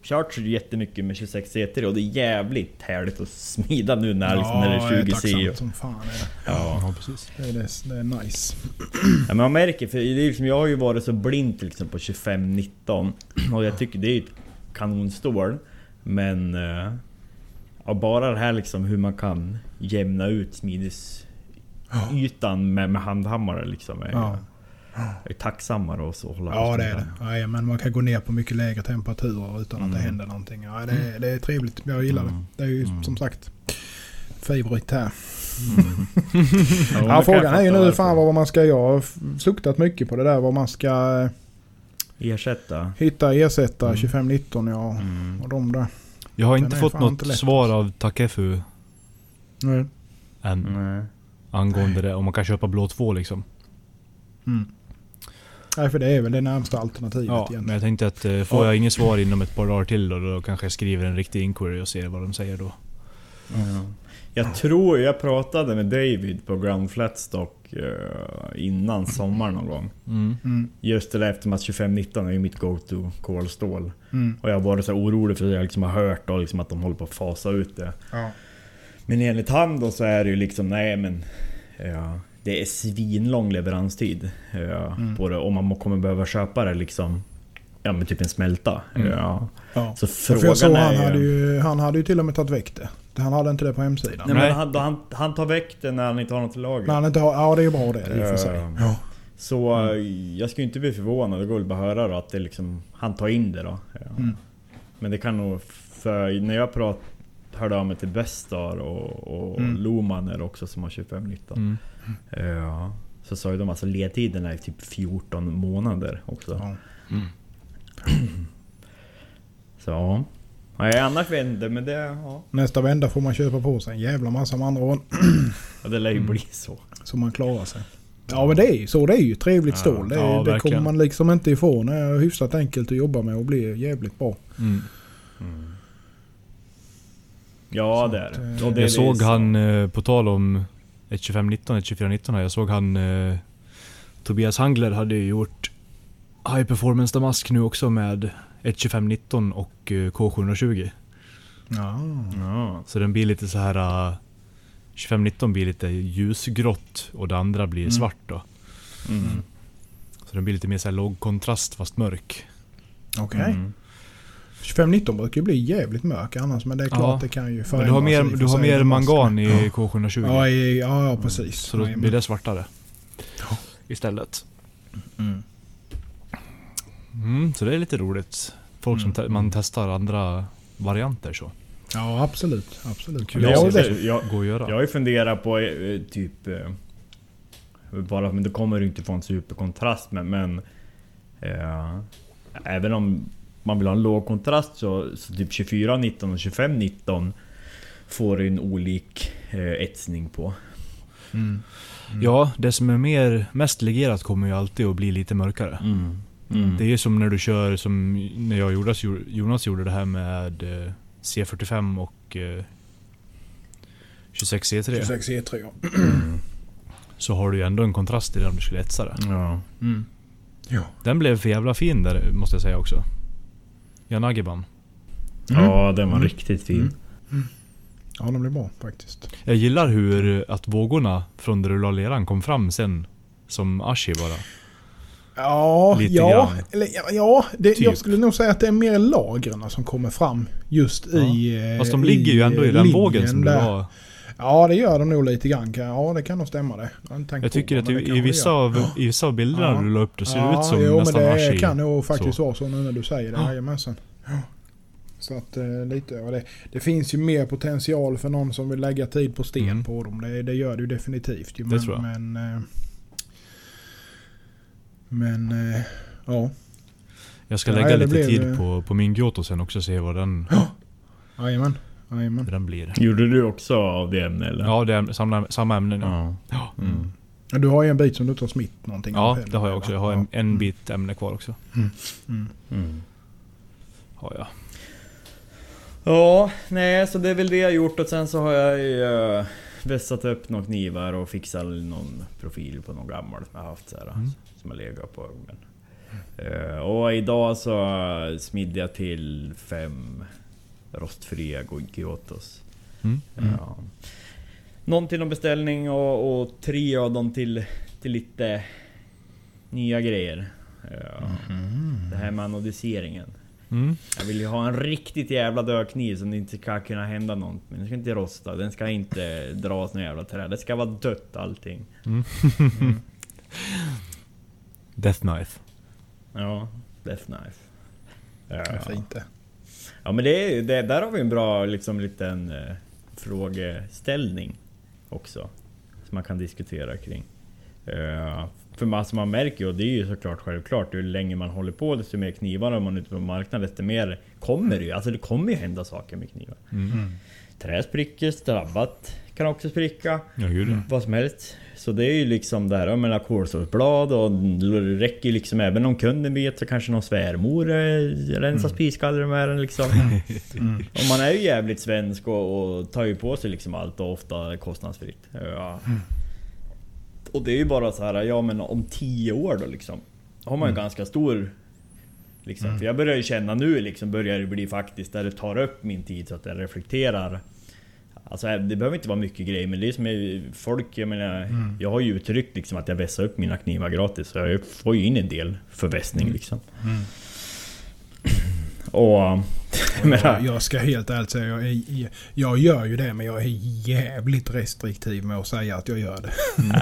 Speaker 1: kört så jättemycket med 26 CT och det är jävligt härligt att smida nu när, liksom, när det
Speaker 3: jag
Speaker 1: är 20 C.
Speaker 3: tacksam som fan. Är det.
Speaker 1: Ja.
Speaker 2: Ja, precis.
Speaker 3: Det, är, det, det är nice.
Speaker 1: Ja, men man märker, för det är liksom, jag har ju varit så blind till exempel på 25-19 och jag tycker det är ett kanonstål. Men eh, ja, bara det här liksom hur man kan jämna ut smidesytan med, med handhammare liksom. Är,
Speaker 3: Ja.
Speaker 1: är tacksammare och så. Hålla liksom
Speaker 3: Ja det är
Speaker 1: den.
Speaker 3: det. Ja, men man kan gå ner på mycket lägre temperaturer utan att det
Speaker 1: Mm.
Speaker 3: händer någonting. Ja, det, det är trevligt. Jag gillar
Speaker 2: Mm.
Speaker 3: det. Det är ju
Speaker 2: Mm.
Speaker 3: som sagt favorit här.
Speaker 1: Ja, nu
Speaker 3: Ja,
Speaker 1: kan
Speaker 3: frågan
Speaker 1: jag
Speaker 3: är ju
Speaker 1: fatta
Speaker 3: nu
Speaker 1: varför.
Speaker 3: fan vad man ska... Jag har f- suktat mycket på det där. Vad man ska eh,
Speaker 1: Ersätta.
Speaker 3: hitta ersätta
Speaker 2: Mm.
Speaker 3: 2519 ja.
Speaker 1: Mm.
Speaker 3: Och de där.
Speaker 2: Jag har
Speaker 3: Den
Speaker 2: inte
Speaker 3: är
Speaker 2: fått
Speaker 3: fan
Speaker 2: något
Speaker 3: inte lätt. alltså.
Speaker 2: svar av Takefu
Speaker 3: Mm.
Speaker 2: än
Speaker 1: Nej.
Speaker 2: angående det. Om man kan köpa blå 2 liksom.
Speaker 3: Nej för det är väl det närmsta alternativet
Speaker 2: Ja, men
Speaker 3: egentligen.
Speaker 2: jag tänkte att eh, får
Speaker 1: Ja.
Speaker 2: jag inget svar inom ett par dagar till då, då kanske jag skriver en riktig inquiry och ser vad de säger då.
Speaker 1: Ja. Jag tror jag pratade med David på Ground Flatstock eh, innan sommaren någon gång.
Speaker 2: Mm.
Speaker 3: Mm.
Speaker 1: Just det där eftersom att 25-19 är ju mitt go-to kolstål.
Speaker 3: Mm.
Speaker 1: Och jag har varit så här orolig för att jag liksom har hört då liksom att de håller på att fasa ut det.
Speaker 3: Ja.
Speaker 1: Men enligt han då så är det ju liksom, nej men... Ja, det är svinlång leveranstid ja,
Speaker 3: Mm.
Speaker 1: på det. Och man må- kommer behöva köpa det liksom... Ja men typ en smälta.
Speaker 2: Mm.
Speaker 1: Ja.
Speaker 3: ja.
Speaker 1: Så
Speaker 3: För jag
Speaker 1: frågan
Speaker 3: såg han
Speaker 1: är
Speaker 3: hade,
Speaker 1: ju...
Speaker 3: ju, han hade ju till och med tagit väck det. Han hade inte det på hemsidan.
Speaker 1: Nej, men
Speaker 2: Nej.
Speaker 1: han, han, han tar väck det när han inte har något i lager.
Speaker 3: Nej, han inte har, ja det är ju bra det i och för sig.
Speaker 1: Ja.
Speaker 3: Ja.
Speaker 1: Så
Speaker 3: Mm.
Speaker 1: eh, jag skulle inte bli förvånad. Det går väl bara att höra då att det liksom, han tar in det då. Ja.
Speaker 3: Mm.
Speaker 1: Men det kan nog... För när jag prat, hörde av mig till Bestar och, och
Speaker 3: Mm.
Speaker 1: Lomaner också som har 25-19.
Speaker 2: Mm.
Speaker 1: Ja. Så sa ju de alltså ledtiden är typ 14 månader också.
Speaker 3: Ja.
Speaker 2: Mm.
Speaker 1: Så ja. Nej, annars vet jag inte, men det... Ja.
Speaker 3: Nästa vända får man köpa på sig en jävla massa med andra ord.
Speaker 1: Ja, Det lär
Speaker 3: Mm.
Speaker 1: ju bli så.
Speaker 3: Så man klarar sig. Ja men det är ju så. Det är ju trevligt
Speaker 1: Ja.
Speaker 3: stål. Det, är-
Speaker 2: Ja,
Speaker 3: det kommer
Speaker 2: verkligen.
Speaker 3: man liksom inte ifrån. Det är hyfsat enkelt att jobba med och blir jävligt bra.
Speaker 2: Mm.
Speaker 1: Ja,
Speaker 3: Så
Speaker 1: det är
Speaker 3: att,
Speaker 1: det.
Speaker 3: eh,
Speaker 1: Och det. det
Speaker 2: Jag såg
Speaker 1: är-
Speaker 2: han, eh, på tal om 1.25.19, 1.24.19 här. Jag såg han eh, Tobias Hangler hade ju gjort High Performance Damask nu också med 1.25.19 och eh, K720.
Speaker 3: Ja.
Speaker 1: Ja.
Speaker 2: Så den blir lite så här... eh, 25.19 blir lite ljusgrått och det andra blir svart då.
Speaker 1: Mm.
Speaker 2: Så den blir lite mer så här låg kontrast fast mörk.
Speaker 3: Okej.
Speaker 1: Mm.
Speaker 3: 2519 brukar ju bli jävligt mörk annars men det är klart
Speaker 2: Ja.
Speaker 3: det kan ju
Speaker 2: Men
Speaker 3: förändras.
Speaker 2: du har mer,
Speaker 3: i och för
Speaker 2: du har
Speaker 3: sig
Speaker 2: mer
Speaker 3: när man ska-
Speaker 2: mangan i
Speaker 3: Ja.
Speaker 2: K720.
Speaker 3: Ja, i- ja, ja precis.
Speaker 2: Så då
Speaker 3: Nej,
Speaker 2: blir
Speaker 3: men-
Speaker 2: det svartare. Istället. Mm, så det är lite roligt. Folk som te- man testar andra varianter så.
Speaker 3: Ja absolut. absolut.
Speaker 2: Kul.
Speaker 3: Ja,
Speaker 1: Jag,
Speaker 3: det,
Speaker 1: jag, jag,
Speaker 2: Går att göra.
Speaker 1: Jag har ju funderat på eh, typ... eh, Bara, men det kommer ju inte få en superkontrast men... men eh, även om man vill ha en låg kontrast så, så typ 24-19 och 25-19 får en olik eh, etsning på.
Speaker 2: Ja, det som är mer, mest legerat kommer ju alltid att bli lite mörkare.
Speaker 1: Mm.
Speaker 2: Det är ju som när du kör, som när jag och Jonas, gjorde- Jonas gjorde det här med eh, C45 och eh, 26C3.
Speaker 3: 26 E3 E ja.
Speaker 2: Så har du ju ändå en kontrast i det om du skulle etsa det.
Speaker 1: Ja.
Speaker 3: Ja.
Speaker 2: Den blev för jävla fin där måste jag säga också. Jan Agiban.
Speaker 3: Mm.
Speaker 1: ja, den var
Speaker 3: Mm.
Speaker 1: riktigt fin.
Speaker 3: Mm. Ja de blir bra faktiskt.
Speaker 2: Jag gillar hur att vågorna från där du la leran kom fram sen. Som Ashi bara.
Speaker 3: Ja,
Speaker 2: Lite
Speaker 3: ja,
Speaker 2: grann.
Speaker 3: eller, ja, ja det, jag
Speaker 2: Typ.
Speaker 3: skulle nog säga att det är mer lagren som kommer fram just i... eh,
Speaker 2: Fast de ligger ju ändå i den
Speaker 3: linjen
Speaker 2: vågen som du
Speaker 3: där.
Speaker 2: la.
Speaker 3: Ja, det gör de nog lite grann. kan- Ja, det kan nog stämma det. Jag, har inte tänkt
Speaker 2: Jag
Speaker 3: på
Speaker 2: tycker
Speaker 3: det,
Speaker 2: att
Speaker 3: men det
Speaker 2: i,
Speaker 3: kanske
Speaker 2: i,
Speaker 3: det
Speaker 2: vissa
Speaker 3: gör.
Speaker 2: av,
Speaker 3: Ja.
Speaker 2: i vissa av bilderna
Speaker 3: Ja.
Speaker 2: du la upp det ser ut som
Speaker 3: jo,
Speaker 2: nästan
Speaker 3: men det
Speaker 2: Ashi.
Speaker 3: kan nog faktiskt
Speaker 2: Så.
Speaker 3: vara så nu när du säger det.
Speaker 2: Ja.
Speaker 3: Jajamensan. Ja. Så att eh, lite av det. Det finns ju mer potential för någon som vill lägga tid på sten
Speaker 2: Mm.
Speaker 3: på dem. Det, det gör det ju definitivt. Ju.
Speaker 2: Det
Speaker 3: Men,
Speaker 2: tror jag.
Speaker 3: Men, eh, men eh, ja.
Speaker 2: Jag ska
Speaker 3: Nej,
Speaker 2: lägga
Speaker 3: det
Speaker 2: lite
Speaker 3: blev,
Speaker 2: tid
Speaker 3: eh,
Speaker 2: på, på min Gyoto sen också och se vad den...
Speaker 3: Ja. Jajamän. Jajamän.
Speaker 2: hur den blir.
Speaker 1: Gjorde du också av det ämnet eller?
Speaker 2: Ja, det är samma, samma ämne nu.
Speaker 1: Ja.
Speaker 2: Ja.
Speaker 1: Mm.
Speaker 3: Ja, Du har ju en bit som du inte har smitt någonting
Speaker 2: Ja,
Speaker 3: av heller,
Speaker 2: det har jag också. Jag har en, en bit ämne kvar också.
Speaker 1: Mm.
Speaker 2: Har jag.
Speaker 1: Ja, nej, så det är väl det jag gjort och sen så har jag ju eh, vässat upp några knivar och fixat någon profil på någon gammal som jag haft så här,
Speaker 2: Mm.
Speaker 1: Som jag legat på ugnen. Eh, och idag så smidde jag till fem rostfria Goikiottos.
Speaker 2: Mm.
Speaker 1: Ja. Någon till någon beställning och, och tre av dem till, till lite nya grejer. Ja.
Speaker 2: Mm-hmm.
Speaker 1: Det här med anodiseringen.
Speaker 2: Mm.
Speaker 1: Jag vill ju ha en riktigt jävla dödkniv som det inte ska kunna hända något med. Den ska inte rosta, den ska inte dras något jävla trä. Det ska vara dött allting.
Speaker 2: Death Knife.
Speaker 1: Ja, Death Knife.
Speaker 3: Ja,
Speaker 1: Ja,
Speaker 3: fint det.
Speaker 1: ja men det, är- det, där har vi en bra liksom, liten eh, frågeställning också. Som man kan diskutera kring. Eh, för man, alltså man märker ju, och det är ju såklart självklart, ju längre man håller på desto mer knivar har man ute på marknaden desto mer kommer det ju. Alltså det kommer ju hända saker med knivar. Trä spricker, strabbat kan också spricka.
Speaker 2: Ja, gud ja.
Speaker 1: Vad som helst. Så det är ju liksom där, jag menar kolsåsblad och det räcker ju liksom även om kunden vet så kanske någon svärmor eh, rensar spisskallren med den liksom. Och man är ju jävligt svensk och, och tar ju på sig liksom allt och ofta kostnadsfritt. Ja. Och det är ju bara så här, ja men om tio år då liksom. Har man ju ganska stor Liksom. För jag börjar ju känna nu liksom, börjar det bli faktiskt där det tar upp min tid så att jag reflekterar. Alltså det behöver inte vara mycket grejer men det är som är- folk, jag menar, jag har ju uttryckt liksom att jag vässar upp mina knivar gratis så jag får ju in en del förvässning liksom. Och... Jag menar,
Speaker 3: Jag ska helt ärligt säga, jag, är, jag gör ju det men jag är jävligt restriktiv med att säga att jag gör det.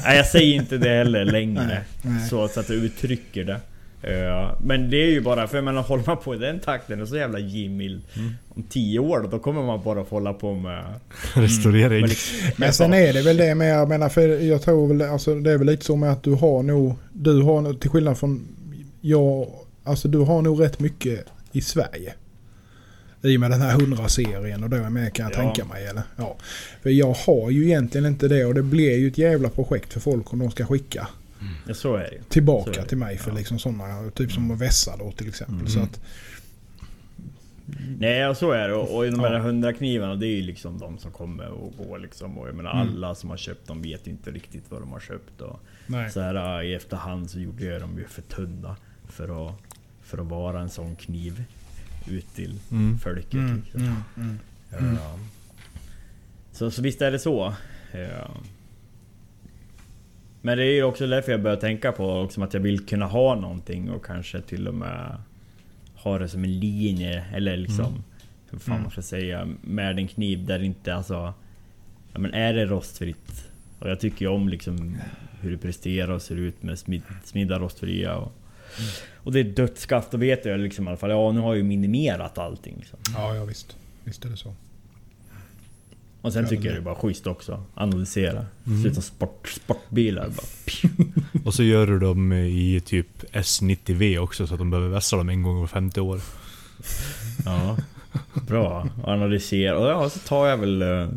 Speaker 1: Nej, jag säger inte det heller längre.
Speaker 3: Nej, nej.
Speaker 1: så, så att jag uttrycker det. Eh, Men det är ju bara för man håller man på i den takten och så jävla givmild om tio år då kommer man bara få hålla på med...
Speaker 2: Restaurering.
Speaker 1: med liksom,
Speaker 3: Men sen är det väl det med, jag menar, för jag tror väl, alltså det är väl lite så med att du har nog, du har nog, till skillnad från jag, alltså du har nog rätt mycket i Sverige. I och med den här 100-serien och då är jag med kan jag
Speaker 1: Ja.
Speaker 3: tänka mig eller? Ja. För jag har ju egentligen inte det och det blir ju ett jävla projekt för folk om de ska skicka
Speaker 1: ja, så är det ju. Så är
Speaker 3: tillbaka
Speaker 1: det,
Speaker 3: till mig för
Speaker 1: ja. Mm.
Speaker 3: liksom sådana, typ som att vässa då till exempel. Så att,
Speaker 1: Nej, och så är det. Och, och de här
Speaker 3: Ja.
Speaker 1: hundra knivarna det är ju liksom de som kommer och går liksom. Och jag menar
Speaker 3: Mm.
Speaker 1: alla som har köpt dem vet ju inte riktigt vad de har köpt. Och
Speaker 3: nej.
Speaker 1: så här, eh, I efterhand så gjorde jag dem ju för tunna för att, för att vara en sån kniv ut till
Speaker 2: Mm.
Speaker 1: folket.
Speaker 3: Mm,
Speaker 1: liksom.
Speaker 3: mm, mm.
Speaker 1: Ja. Så, så visst är det så. Ja. Men det är ju också därför jag börjar tänka på liksom att jag vill kunna ha någonting och kanske till och med ha det som en linje eller liksom hur fan
Speaker 3: Mm.
Speaker 1: man ska säga med en kniv där det inte alltså. Ja, men är det rostfritt? Och jag tycker ju om liksom hur det presterar och ser ut med smid, smidda rostfria och,
Speaker 2: Mm.
Speaker 1: och det är dödsskaft. Då vet jag liksom i alla fall. Ja, nu har jag ju minimerat allting. Liksom.
Speaker 3: Ja, ja visst. Visst är det så.
Speaker 1: Och sen
Speaker 3: Ja,
Speaker 1: tycker
Speaker 3: men
Speaker 1: jag det är bara schysst också. Analysera.
Speaker 2: Mm.
Speaker 1: Se ut som sport, sportbilar. Bara.
Speaker 2: Och så gör du dem i typ S90V också så att de behöver vässa dem en gång var 50 år.
Speaker 1: Ja. Bra. Analysera. Och ja, så tar jag väl eh,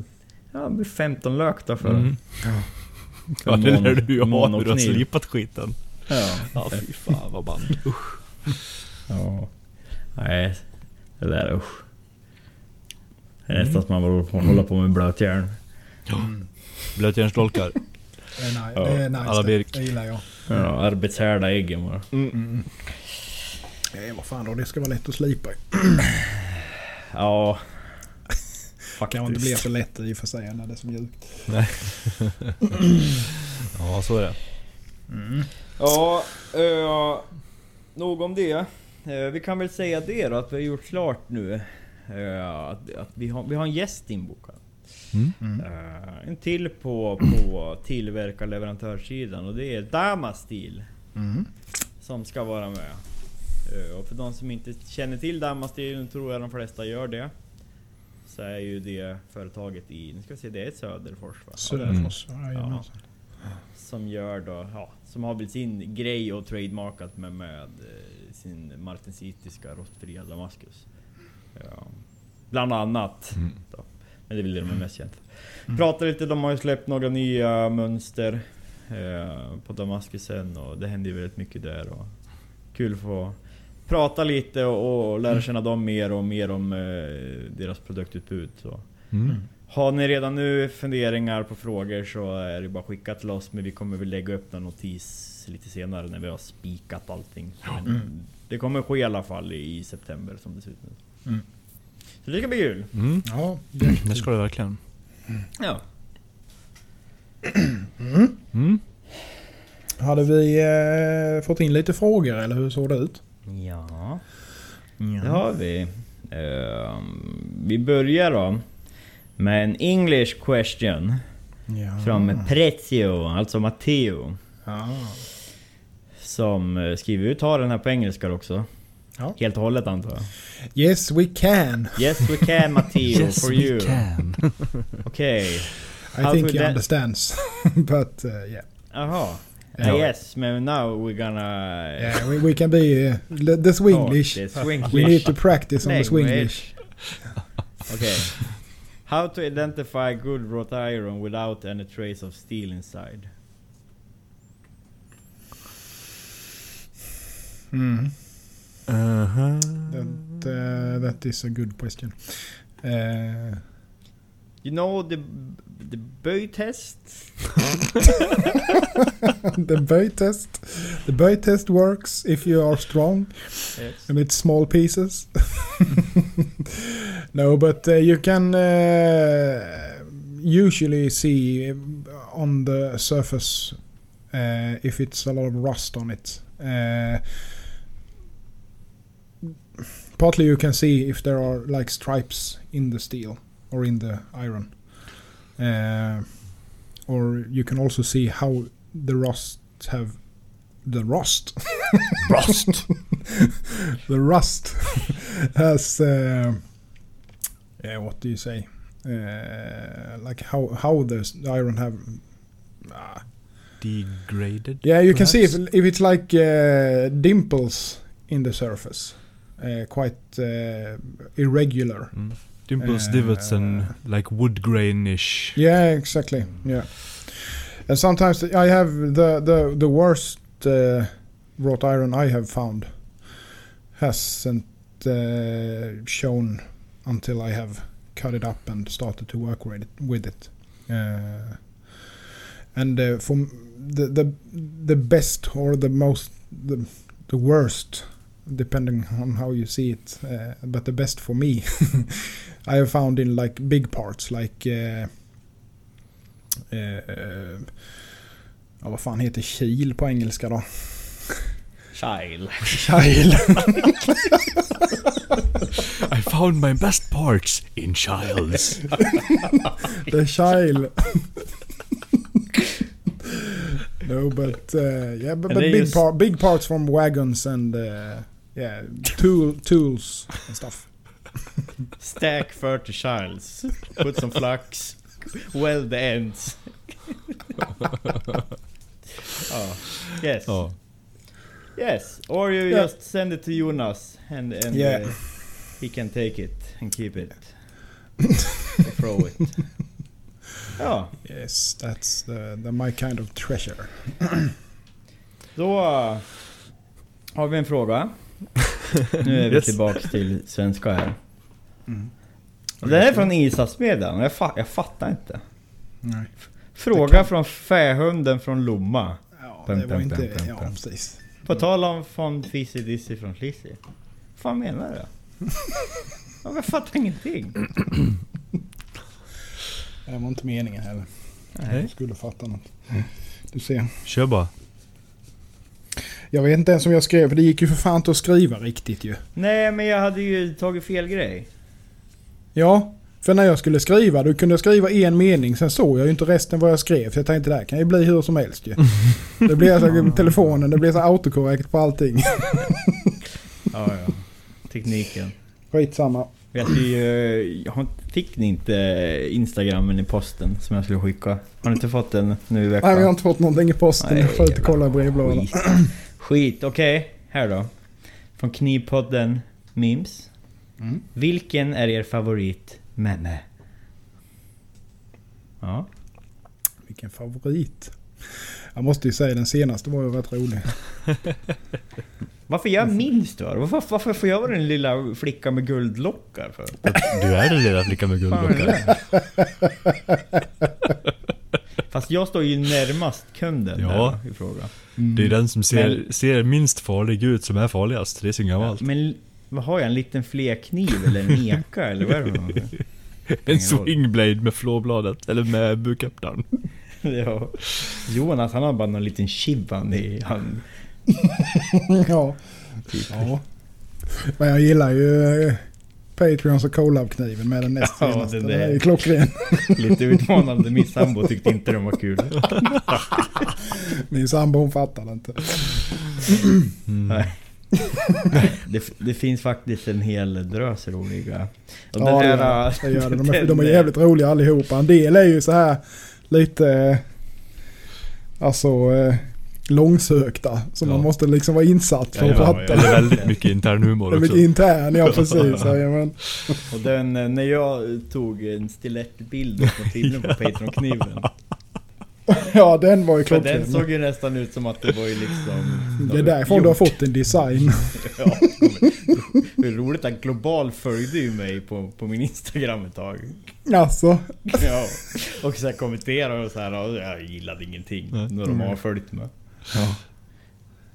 Speaker 1: ja, men 15 lök då för
Speaker 2: Mm.
Speaker 1: för
Speaker 2: Ja, det
Speaker 1: mon-
Speaker 2: lär du ju ha när du har
Speaker 1: monokniv.
Speaker 2: slipat skiten.
Speaker 1: Ja.
Speaker 2: Ja, fy fan vad band. Usch.
Speaker 1: ja. Nej. Det där usch. Det är
Speaker 2: Mm.
Speaker 1: nästan att man bara håller på med blötjärn.
Speaker 2: Blötjärnsdolkar.
Speaker 3: Det är, ni-
Speaker 1: Ja,
Speaker 3: det är nice.
Speaker 2: alla
Speaker 3: det.
Speaker 2: Birk.
Speaker 3: Det gillar jag.
Speaker 1: Ja, arbetshärda äggen bara.
Speaker 2: Mm.
Speaker 3: Nej, vad fan då. Det ska vara lätt att slipa ju.
Speaker 1: Ja.
Speaker 3: Kanske inte blir
Speaker 1: Faktiskt.
Speaker 3: så lätt i och för sig när det är så mjukt.
Speaker 2: Ja, så är det.
Speaker 1: Ja, eh, nog om det. Eh, vi kan väl säga det då, att vi har gjort klart nu. eh, att, att vi, har, vi har en gäst inbokad.
Speaker 2: Mm.
Speaker 1: Eh, en till på, på tillverkar leverantörssidan och det är Damastil.
Speaker 3: Mm.
Speaker 1: Som ska vara med. Eh, och för de som inte känner till Damastil, nu tror jag de flesta gör det. Så är ju det företaget i, nu ska vi se, det är Söderfors va?
Speaker 3: Söderfors. Ja, jajamensan.
Speaker 1: Som gör då, ja, som har väl sin grej och trademarkat med, med eh, sin martensitiska rostfria Damaskus. Ja. Bland annat.
Speaker 2: Mm.
Speaker 1: Så. Men det är väl det de är mest kända för. Pratar lite, de har ju släppt några nya mönster eh, på Damaskusen och det händer ju väldigt mycket där. Och kul att få prata lite och, och lära känna dem mer och mer om eh, deras produktutbud. Så.
Speaker 2: Mm.
Speaker 1: Har ni redan nu funderingar på frågor så är det bara att skicka till oss. Men vi kommer väl lägga upp en notis lite senare när vi har spikat allting. Men det kommer ske i alla fall i i september som det ser ut nu.
Speaker 5: Mm.
Speaker 1: Så det ska bli kul.
Speaker 2: Mm.
Speaker 3: Ja,
Speaker 2: Det ska det verkligen.
Speaker 1: Ja.
Speaker 2: Mm.
Speaker 3: Hade vi eh, fått in lite frågor eller hur såg det ut?
Speaker 1: Ja. Det har vi. Ehm, vi börjar då med en English question
Speaker 3: Ja.
Speaker 1: från Prezio, alltså Matteo.
Speaker 3: Ja.
Speaker 1: Som eh, skriver ut har den här på engelska också.
Speaker 3: Ja.
Speaker 1: Helt och hållet antar jag.
Speaker 3: Yes we can.
Speaker 1: Yes we can Matteo, for you.
Speaker 2: can.
Speaker 1: Okej.
Speaker 3: I
Speaker 1: How
Speaker 3: think
Speaker 1: could
Speaker 3: he
Speaker 1: that-
Speaker 3: understands. But uh, yeah.
Speaker 1: Jaha.
Speaker 3: Ja.
Speaker 1: Uh, yes, men now we're gonna...
Speaker 3: yeah we, we can be uh, le- the Swinglish.
Speaker 1: Talk the
Speaker 3: We need
Speaker 1: Swinglish.
Speaker 3: to practice on the Swinglish.
Speaker 1: Language. okay. How to identify good wrought iron without any trace of steel inside?
Speaker 3: Mm.
Speaker 2: Uh-huh.
Speaker 3: That, uh, that is a good question. Uh,
Speaker 1: You know the the böj test?
Speaker 3: the bow test. The bow test works if you are strong
Speaker 1: Yes.
Speaker 3: and it's small pieces. no, but uh, you can uh, usually see on the surface uh, if it's a lot of rust on it. Uh, partly you can see if there are like stripes in the steel or in the iron. Uh, or you can also see how the rust have the rust rust the rust has uh, yeah, what do you say uh, like how how the iron have ah,
Speaker 2: Degraded.
Speaker 3: yeah, you can see if,
Speaker 2: perhaps?
Speaker 3: if it's like uh, dimples in the surface, uh, quite uh, irregular.
Speaker 2: Mm. Dimples,
Speaker 3: Eh,
Speaker 2: divots and like wood grainish.
Speaker 3: Yeah, exactly. Yeah, and sometimes I have the the the worst uh, wrought iron I have found hasn't uh, shown until I have cut it up and started to work with it. With it. Uh, and uh, for m- the the the best or the most the, the worst, depending on how you see it, uh, but the best for me, I have found in like big parts like. Uh, eh, ja, vad fan heter kil på engelska då?
Speaker 1: Child.
Speaker 3: Kil.
Speaker 2: I found my best parts in childs.
Speaker 3: The kil. no, but uh, yeah, but,
Speaker 1: And
Speaker 3: but
Speaker 1: they
Speaker 3: big,
Speaker 1: use-
Speaker 3: par- big parts from wagons and uh, yeah, tool tools and stuff.
Speaker 1: Stack 30 childs. Put some flux. Weld the ends. oh. Yes.
Speaker 2: Ja.
Speaker 1: Yes. Or you
Speaker 3: Yeah.
Speaker 1: just send it to Jonas and, and
Speaker 3: Yeah.
Speaker 1: uh, he can take it and keep it. And throw it. Ja.
Speaker 3: Yes, that's the, the my kind of treasure.
Speaker 1: Då eh, har vi en fråga. Nu är vi
Speaker 2: Yes. Mm.
Speaker 1: tillbaks till svenska här. Och Den är från Isasmedjan jag, fa- jag fattar inte.
Speaker 3: Nej. Det
Speaker 1: Fråga
Speaker 3: kan-
Speaker 1: från fähunden från Lomma.
Speaker 3: Ja,
Speaker 1: Pem,
Speaker 3: det var
Speaker 1: pem,
Speaker 3: inte...
Speaker 1: pem, pem,
Speaker 3: ja,
Speaker 1: pem.
Speaker 3: precis.
Speaker 1: På tal om från Fizzy Dizzy från Flizzy. Vad fan menar du? Ja, Jag fattar ingenting.
Speaker 3: Det var inte meningen heller.
Speaker 1: Nej.
Speaker 3: Jag skulle fatta något. Du ser.
Speaker 2: Kör bara.
Speaker 3: Jag vet inte ens om jag skrev, för det gick ju för fan inte att skriva riktigt ju.
Speaker 1: Nej men jag hade ju tagit fel grej.
Speaker 3: Ja, för när jag skulle skriva, du kunde jag skriva en mening, sen såg jag ju inte resten vad jag skrev. Så jag tänkte det här kan ju bli hur som helst ju. Det blir så telefonen, det blir så autokorrekt på allting.
Speaker 1: Ja, ja. Tekniken.
Speaker 3: Skitsamma.
Speaker 1: Jag, ska ju, jag har- fick ni inte instagrammen i posten som jag skulle skicka? Har ni inte fått den nu i
Speaker 3: Nej, vi har
Speaker 1: veckan?
Speaker 3: inte fått någonting i posten. Jag får ut och kolla i brevlådan.
Speaker 1: Skit. Skit. Okej, här då. Från Knivpodden Memes.
Speaker 3: Mm.
Speaker 1: Vilken är er favorit memme? Ja.
Speaker 3: Vilken favorit. Jag måste ju säga den senaste var ju rätt rolig.
Speaker 1: Varför jag minns då? Varför, varför får jag vara den lilla flickan med guldlockar för?
Speaker 2: Du är den lilla flickan med
Speaker 1: Fan, är
Speaker 2: guldlockar.
Speaker 1: det? Fast jag står ju närmast kunden
Speaker 2: Ja.
Speaker 1: där i fråga.
Speaker 2: Det är den som ser,
Speaker 1: Men-
Speaker 2: ser minst farlig ut som är farligast. Det är så gammalt.
Speaker 1: Men vad har jag? En liten flerkniv eller en eka eller vad är det för någonting?
Speaker 2: En
Speaker 1: ingen roll.
Speaker 2: swingblade med flåbladet, eller med buköppnaren.
Speaker 1: ja. Jonas han har bara någon liten chivan i hand.
Speaker 3: ja. ja. Men jag gillar ju eh, Patreons och Colab-kniven med den näst
Speaker 1: Ja,
Speaker 3: senaste.
Speaker 1: den
Speaker 3: Den är
Speaker 1: är-
Speaker 3: ju klockren.
Speaker 1: Lite utmanande. Min sambo tyckte inte den var kul.
Speaker 3: Min sambo hon fattar inte.
Speaker 1: Det, det finns faktiskt en hel drös roliga. Och
Speaker 3: ja,
Speaker 1: den
Speaker 3: det
Speaker 1: där, eh,
Speaker 3: gör det. det, gör det. De, är,
Speaker 1: den-
Speaker 3: de är jävligt roliga allihopa. En del är ju så här lite... eh, Alltså... eh, Långsökta. Som
Speaker 2: Ja.
Speaker 3: man måste liksom vara insatt för
Speaker 2: Ja,
Speaker 3: att
Speaker 2: ja,
Speaker 3: fatta.
Speaker 2: Eller väldigt mycket intern humor
Speaker 3: Det är
Speaker 2: också.
Speaker 3: mycket intern, ja precis. Jajamän.
Speaker 1: Och den, eh, när jag tog en stilettbild från filmen på Patreon-kniven.
Speaker 3: Ja, den var ju
Speaker 1: För
Speaker 3: klockren.
Speaker 1: den såg ju nästan ut som att det var ju liksom...
Speaker 3: Det är därifrån du har fått din design.
Speaker 1: Ja, hur roligt att Global följde ju mig på, på min Instagram ett tag.
Speaker 3: Alltså.
Speaker 1: Ja, och så här kommenterade och så här, ja, jag gillade ingenting.
Speaker 2: Nej. Mm.
Speaker 1: När de har följt mig.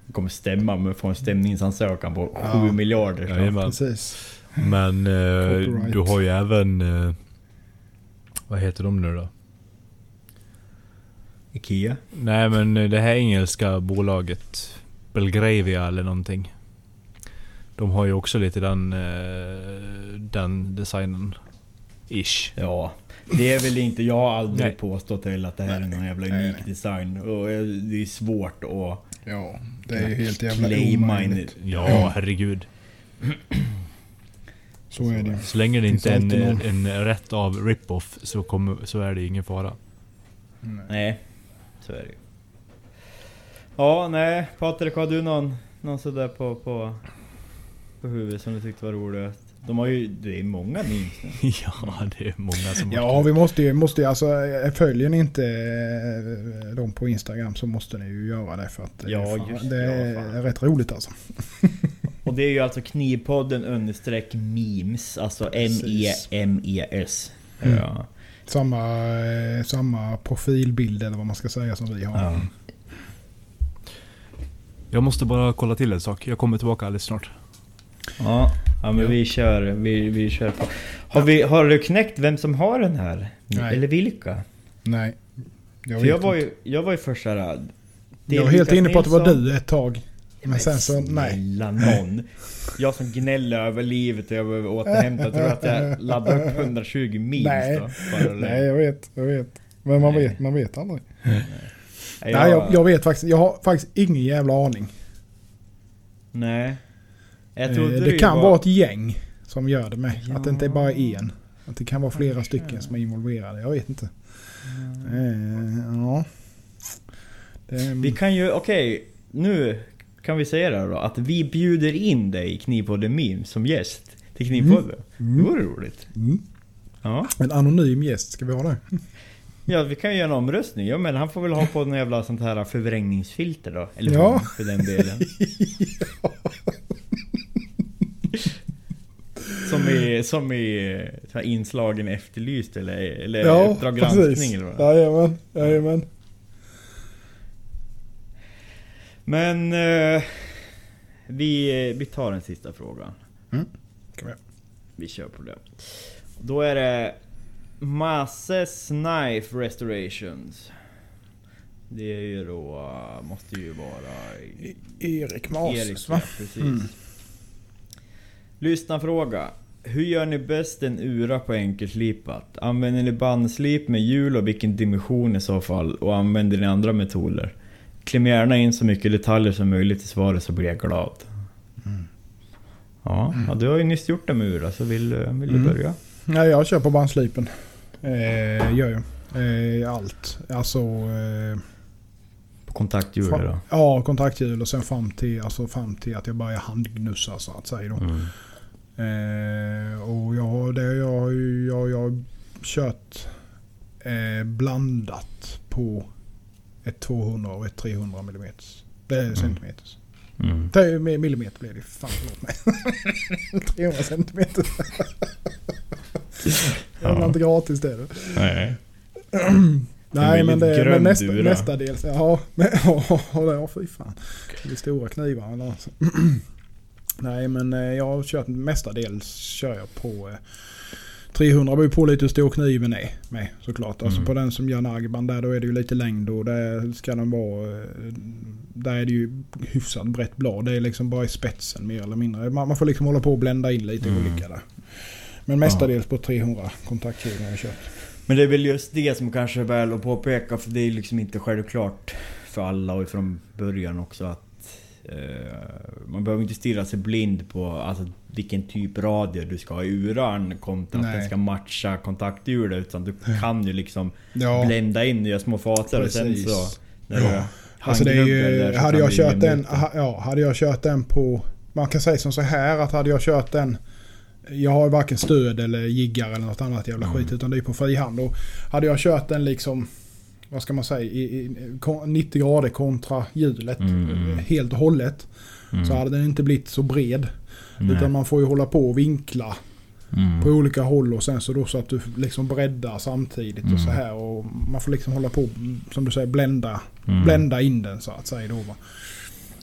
Speaker 1: Det kommer stämma men får en stämningsansökan på 7 miljarder. så.
Speaker 2: Jajamän.
Speaker 3: Precis.
Speaker 2: Men eh,
Speaker 3: Copyright.
Speaker 2: du har ju även... Eh, vad heter de nu då?
Speaker 1: Ikea.
Speaker 2: Nej men eh, det här engelska bolaget Belgravia eller någonting. De har ju också lite den, eh, den designen. Ish.
Speaker 1: Ja, det är väl inte... Jag har aldrig
Speaker 2: Nej.
Speaker 1: påstått heller att det här är någon jävla unik design. Och eh, det är svårt att
Speaker 3: Ja, det är ju helt
Speaker 1: claima en...
Speaker 2: Ja,
Speaker 3: Mm.
Speaker 2: herregud.
Speaker 3: Så är det.
Speaker 2: Så länge det inte är en,
Speaker 3: alltid
Speaker 2: en,
Speaker 3: någon.
Speaker 2: rätt av rip-off så, kommer, så är det ingen fara.
Speaker 1: Nej, så är det ju. Ja, nej. Patrik, har du någon, någon sådär på, på, på huvudet som du tyckte var roligast? De har ju... Det är många memes nu.
Speaker 2: ja, det är många som...
Speaker 3: Ja, vi måste ju, måste ju alltså, eh, följer ni inte eh, dem på Instagram så måste ni ju göra det för att eh,
Speaker 1: Ja,
Speaker 3: fan,
Speaker 1: just det,
Speaker 3: det är
Speaker 1: ja, fan.
Speaker 3: rätt roligt alltså.
Speaker 1: Och det är ju alltså knivpodden understreck memes. Alltså M-E-M-E-S. E
Speaker 3: Mm.
Speaker 1: Ja.
Speaker 3: Samma, eh, samma profilbild eller vad man ska säga som vi har.
Speaker 1: Ja.
Speaker 2: Jag måste bara kolla till en sak. Jag kommer tillbaka alldeles snart.
Speaker 1: ja. Ja men vi kör, vi, vi kör på. Har, vi, har du knäckt vem som har den här?
Speaker 3: Nej.
Speaker 1: Eller vilka?
Speaker 3: Nej. Jag,
Speaker 1: För jag
Speaker 3: vet
Speaker 1: var
Speaker 3: inte.
Speaker 1: ju, jag var ju först såhär... det är
Speaker 3: jag var helt
Speaker 1: Lukas
Speaker 3: inne på att det var
Speaker 1: Nilsson.
Speaker 3: du ett tag. Men sen så, nej.
Speaker 1: Snälla någon. Jag som gnäller över livet och jag behöver återhämta. Tror du att jag laddar upp 120 memes
Speaker 3: Nej.
Speaker 1: då? Bara
Speaker 3: Nej, jag vet, jag vet. Men man
Speaker 1: Nej.
Speaker 3: vet, man vet aldrig.
Speaker 1: Nej,
Speaker 3: Nej, jag, jag vet faktiskt, jag har faktiskt ingen jävla aning.
Speaker 1: Nej. Jag
Speaker 3: Eh,
Speaker 1: trodde
Speaker 3: det
Speaker 1: ju
Speaker 3: kan
Speaker 1: var-
Speaker 3: vara ett gäng som gör det med. Att det inte är bara
Speaker 1: Ja.
Speaker 3: en. Att det kan vara flera stycken som är involverade. Jag vet inte. Eh, ja. Det är,
Speaker 1: Vi kan ju, okej. nu kan vi säga det här då. Att vi bjuder in dig i Knivpodden Meme som gäst till Knivpodden. Det vore roligt.
Speaker 3: Mm.
Speaker 1: Ja.
Speaker 3: En anonym gäst, ska vi ha det?
Speaker 1: ja, vi kan ju göra en omröstning. Ja, men han får väl ha på någon jävla sånt här förvrängningsfilter då. Eller
Speaker 3: Ja.
Speaker 1: hon, för den delen. Som i, som i eh, så här inslagen Efterlyst eller, eller Uppdrag granskning eller vad det är.
Speaker 3: Jajamän, jajamän.
Speaker 1: Men eh, vi, vi tar den sista frågan.
Speaker 3: Kom igen.
Speaker 1: Vi kör på det. Då är det Masses Knife Restorations. Det är ju då, måste ju vara i-
Speaker 3: E- Erik Masus
Speaker 1: Erik,
Speaker 3: va? Mm.
Speaker 1: ja, precis. Lyssna fråga. Hur gör ni bäst en ura på enkelslipat? Använder ni bandslip med hjul och vilken dimension i så fall? Och använder ni andra metoder? Kläm gärna in så mycket detaljer som möjligt i svaret så blir jag glad.
Speaker 3: Mm.
Speaker 1: Ja, ja, du har ju nyss gjort en med ura så vill, du- vill du
Speaker 3: Mm.
Speaker 1: börja?
Speaker 3: Nej, jag kör på bandslipen. Eh, gör jag. Eh, allt. Alltså... Eh,
Speaker 1: På kontakthjul
Speaker 3: Fan.
Speaker 1: då? Mm.
Speaker 3: Ja, kontakthjul och sen fram till, alltså fram till att jag börjar handgnussa så att säga. Då. Eh, och jag, det, jag, har ju- jag, jag har kört eh, blandat på ett 200 och ett 300 mm. Det är centimeters.
Speaker 1: Mm.
Speaker 3: Det är ju mi- millimeter blir det ju. Fan förlåt mig. 300 centimeter. Det var inte gratis det. du.
Speaker 1: Nej.
Speaker 3: Nej
Speaker 1: väldigt
Speaker 3: men det
Speaker 1: grön
Speaker 3: men nästa,
Speaker 1: dura.
Speaker 3: nästa del. Ja, men, ja, ja fy fan. Det är stora knivar. eller Alltså. Nej men eh, jag har kört mestadels kör jag på eh, 300 beror ju på lite hur stor kniven är med såklart. Alltså
Speaker 2: Mm.
Speaker 3: på den som gör nargban där då är det ju lite längd och där ska den vara... eh, Där är det ju hyfsat brett blad. Det är liksom bara i spetsen mer eller mindre. Man, man får liksom hålla på och blända in lite
Speaker 2: Mm.
Speaker 3: olika där. Men mestadels på 300 kontaktknivar har jag kört.
Speaker 1: Men det är väl just det som kanske är väl att påpeka för det är liksom inte självklart för alla och från början också att eh, man behöver inte stirra sig blind på alltså, vilken typ radie du ska ha i uran kontra att
Speaker 3: Nej.
Speaker 1: den ska matcha kontakthjulet utan du kan ju liksom
Speaker 3: Ja.
Speaker 1: blända in nya små faser och sen
Speaker 3: Precis.
Speaker 1: så... När
Speaker 3: Ja.
Speaker 1: du
Speaker 3: Alltså det är
Speaker 1: handgnubblar
Speaker 3: ju,
Speaker 1: där så
Speaker 3: hade
Speaker 1: kan
Speaker 3: jag
Speaker 1: det ju
Speaker 3: kört
Speaker 1: lämna
Speaker 3: den,
Speaker 1: ut
Speaker 3: ha- ja, hade jag kört den på, man kan säga som så här att hade jag kört den, jag har ju varken stöd eller jiggar eller något annat jävla
Speaker 1: Mm.
Speaker 3: skit utan det är på frihand. Och hade jag kört den liksom, vad ska man säga, i, i, kon- 90 grader kontra hjulet
Speaker 1: Mm.
Speaker 3: helt och hållet. Så hade den inte blivit så bred. Utan man får ju hålla på och vinkla
Speaker 1: Mm.
Speaker 3: på olika håll och sen så då så att du liksom breddar samtidigt och
Speaker 1: Mm.
Speaker 3: så här. Och man får liksom hålla på, som du säger, blända
Speaker 1: Mm.
Speaker 3: blända in den så att säga. Då, va?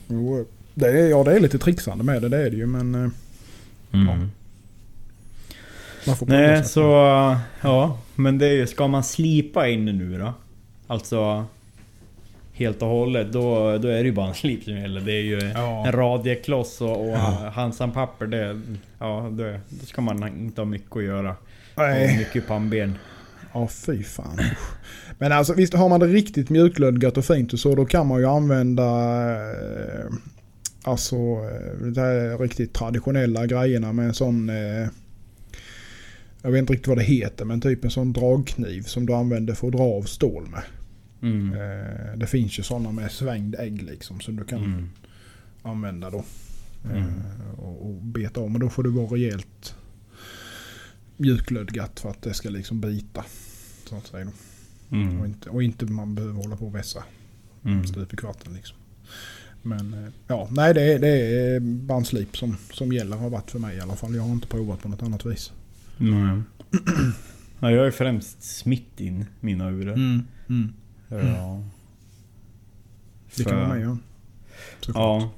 Speaker 3: Jo, det är, ja, det är lite trixande med det, det är det ju. Men eh,
Speaker 1: Mm.
Speaker 3: man får
Speaker 1: Nej,
Speaker 3: prova sig.
Speaker 1: så... Ja, men det är ju... Ska man slipa in nu då? Alltså... Helt och hållet, då, då är det ju bara en slip som gäller. Det är ju
Speaker 3: Ja.
Speaker 1: en radiekloss och, och
Speaker 3: Ja.
Speaker 1: handsampapper. Det, ja, det, då ska man inte ha mycket att göra. Och
Speaker 3: Nej,
Speaker 1: mycket pannben.
Speaker 3: ja fy fan. Men alltså visst, har man det riktigt mjuklödgat och fint och så, då kan man ju använda eh, alltså eh, de här riktigt traditionella grejerna med en sån eh, jag vet inte riktigt vad det heter, men typ en sån dragkniv som du använder för att dra av stål med.
Speaker 1: Mm.
Speaker 3: Eh, det finns ju sådana med svängd ägg liksom som du kan
Speaker 1: Mm.
Speaker 3: använda då.
Speaker 1: Mm.
Speaker 3: Eh, Och, och beta av. Men då får du vara rejält mjuklödgat för att det ska liksom bita. Så att säga. då. Och,
Speaker 1: Mm.
Speaker 3: inte, och inte man behöver hålla på och vässa
Speaker 1: Mm.
Speaker 3: stup i kvarten liksom. Men eh, ja, nej det är, det är bandslip som, som gäller har varit för mig i alla fall. Jag har inte provat på något annat vis.
Speaker 1: Nej. Ja, jag har ju främst smitt in mina urer. Ja.
Speaker 3: Mm. Det kan vara med ja. Såklart.
Speaker 1: Ja.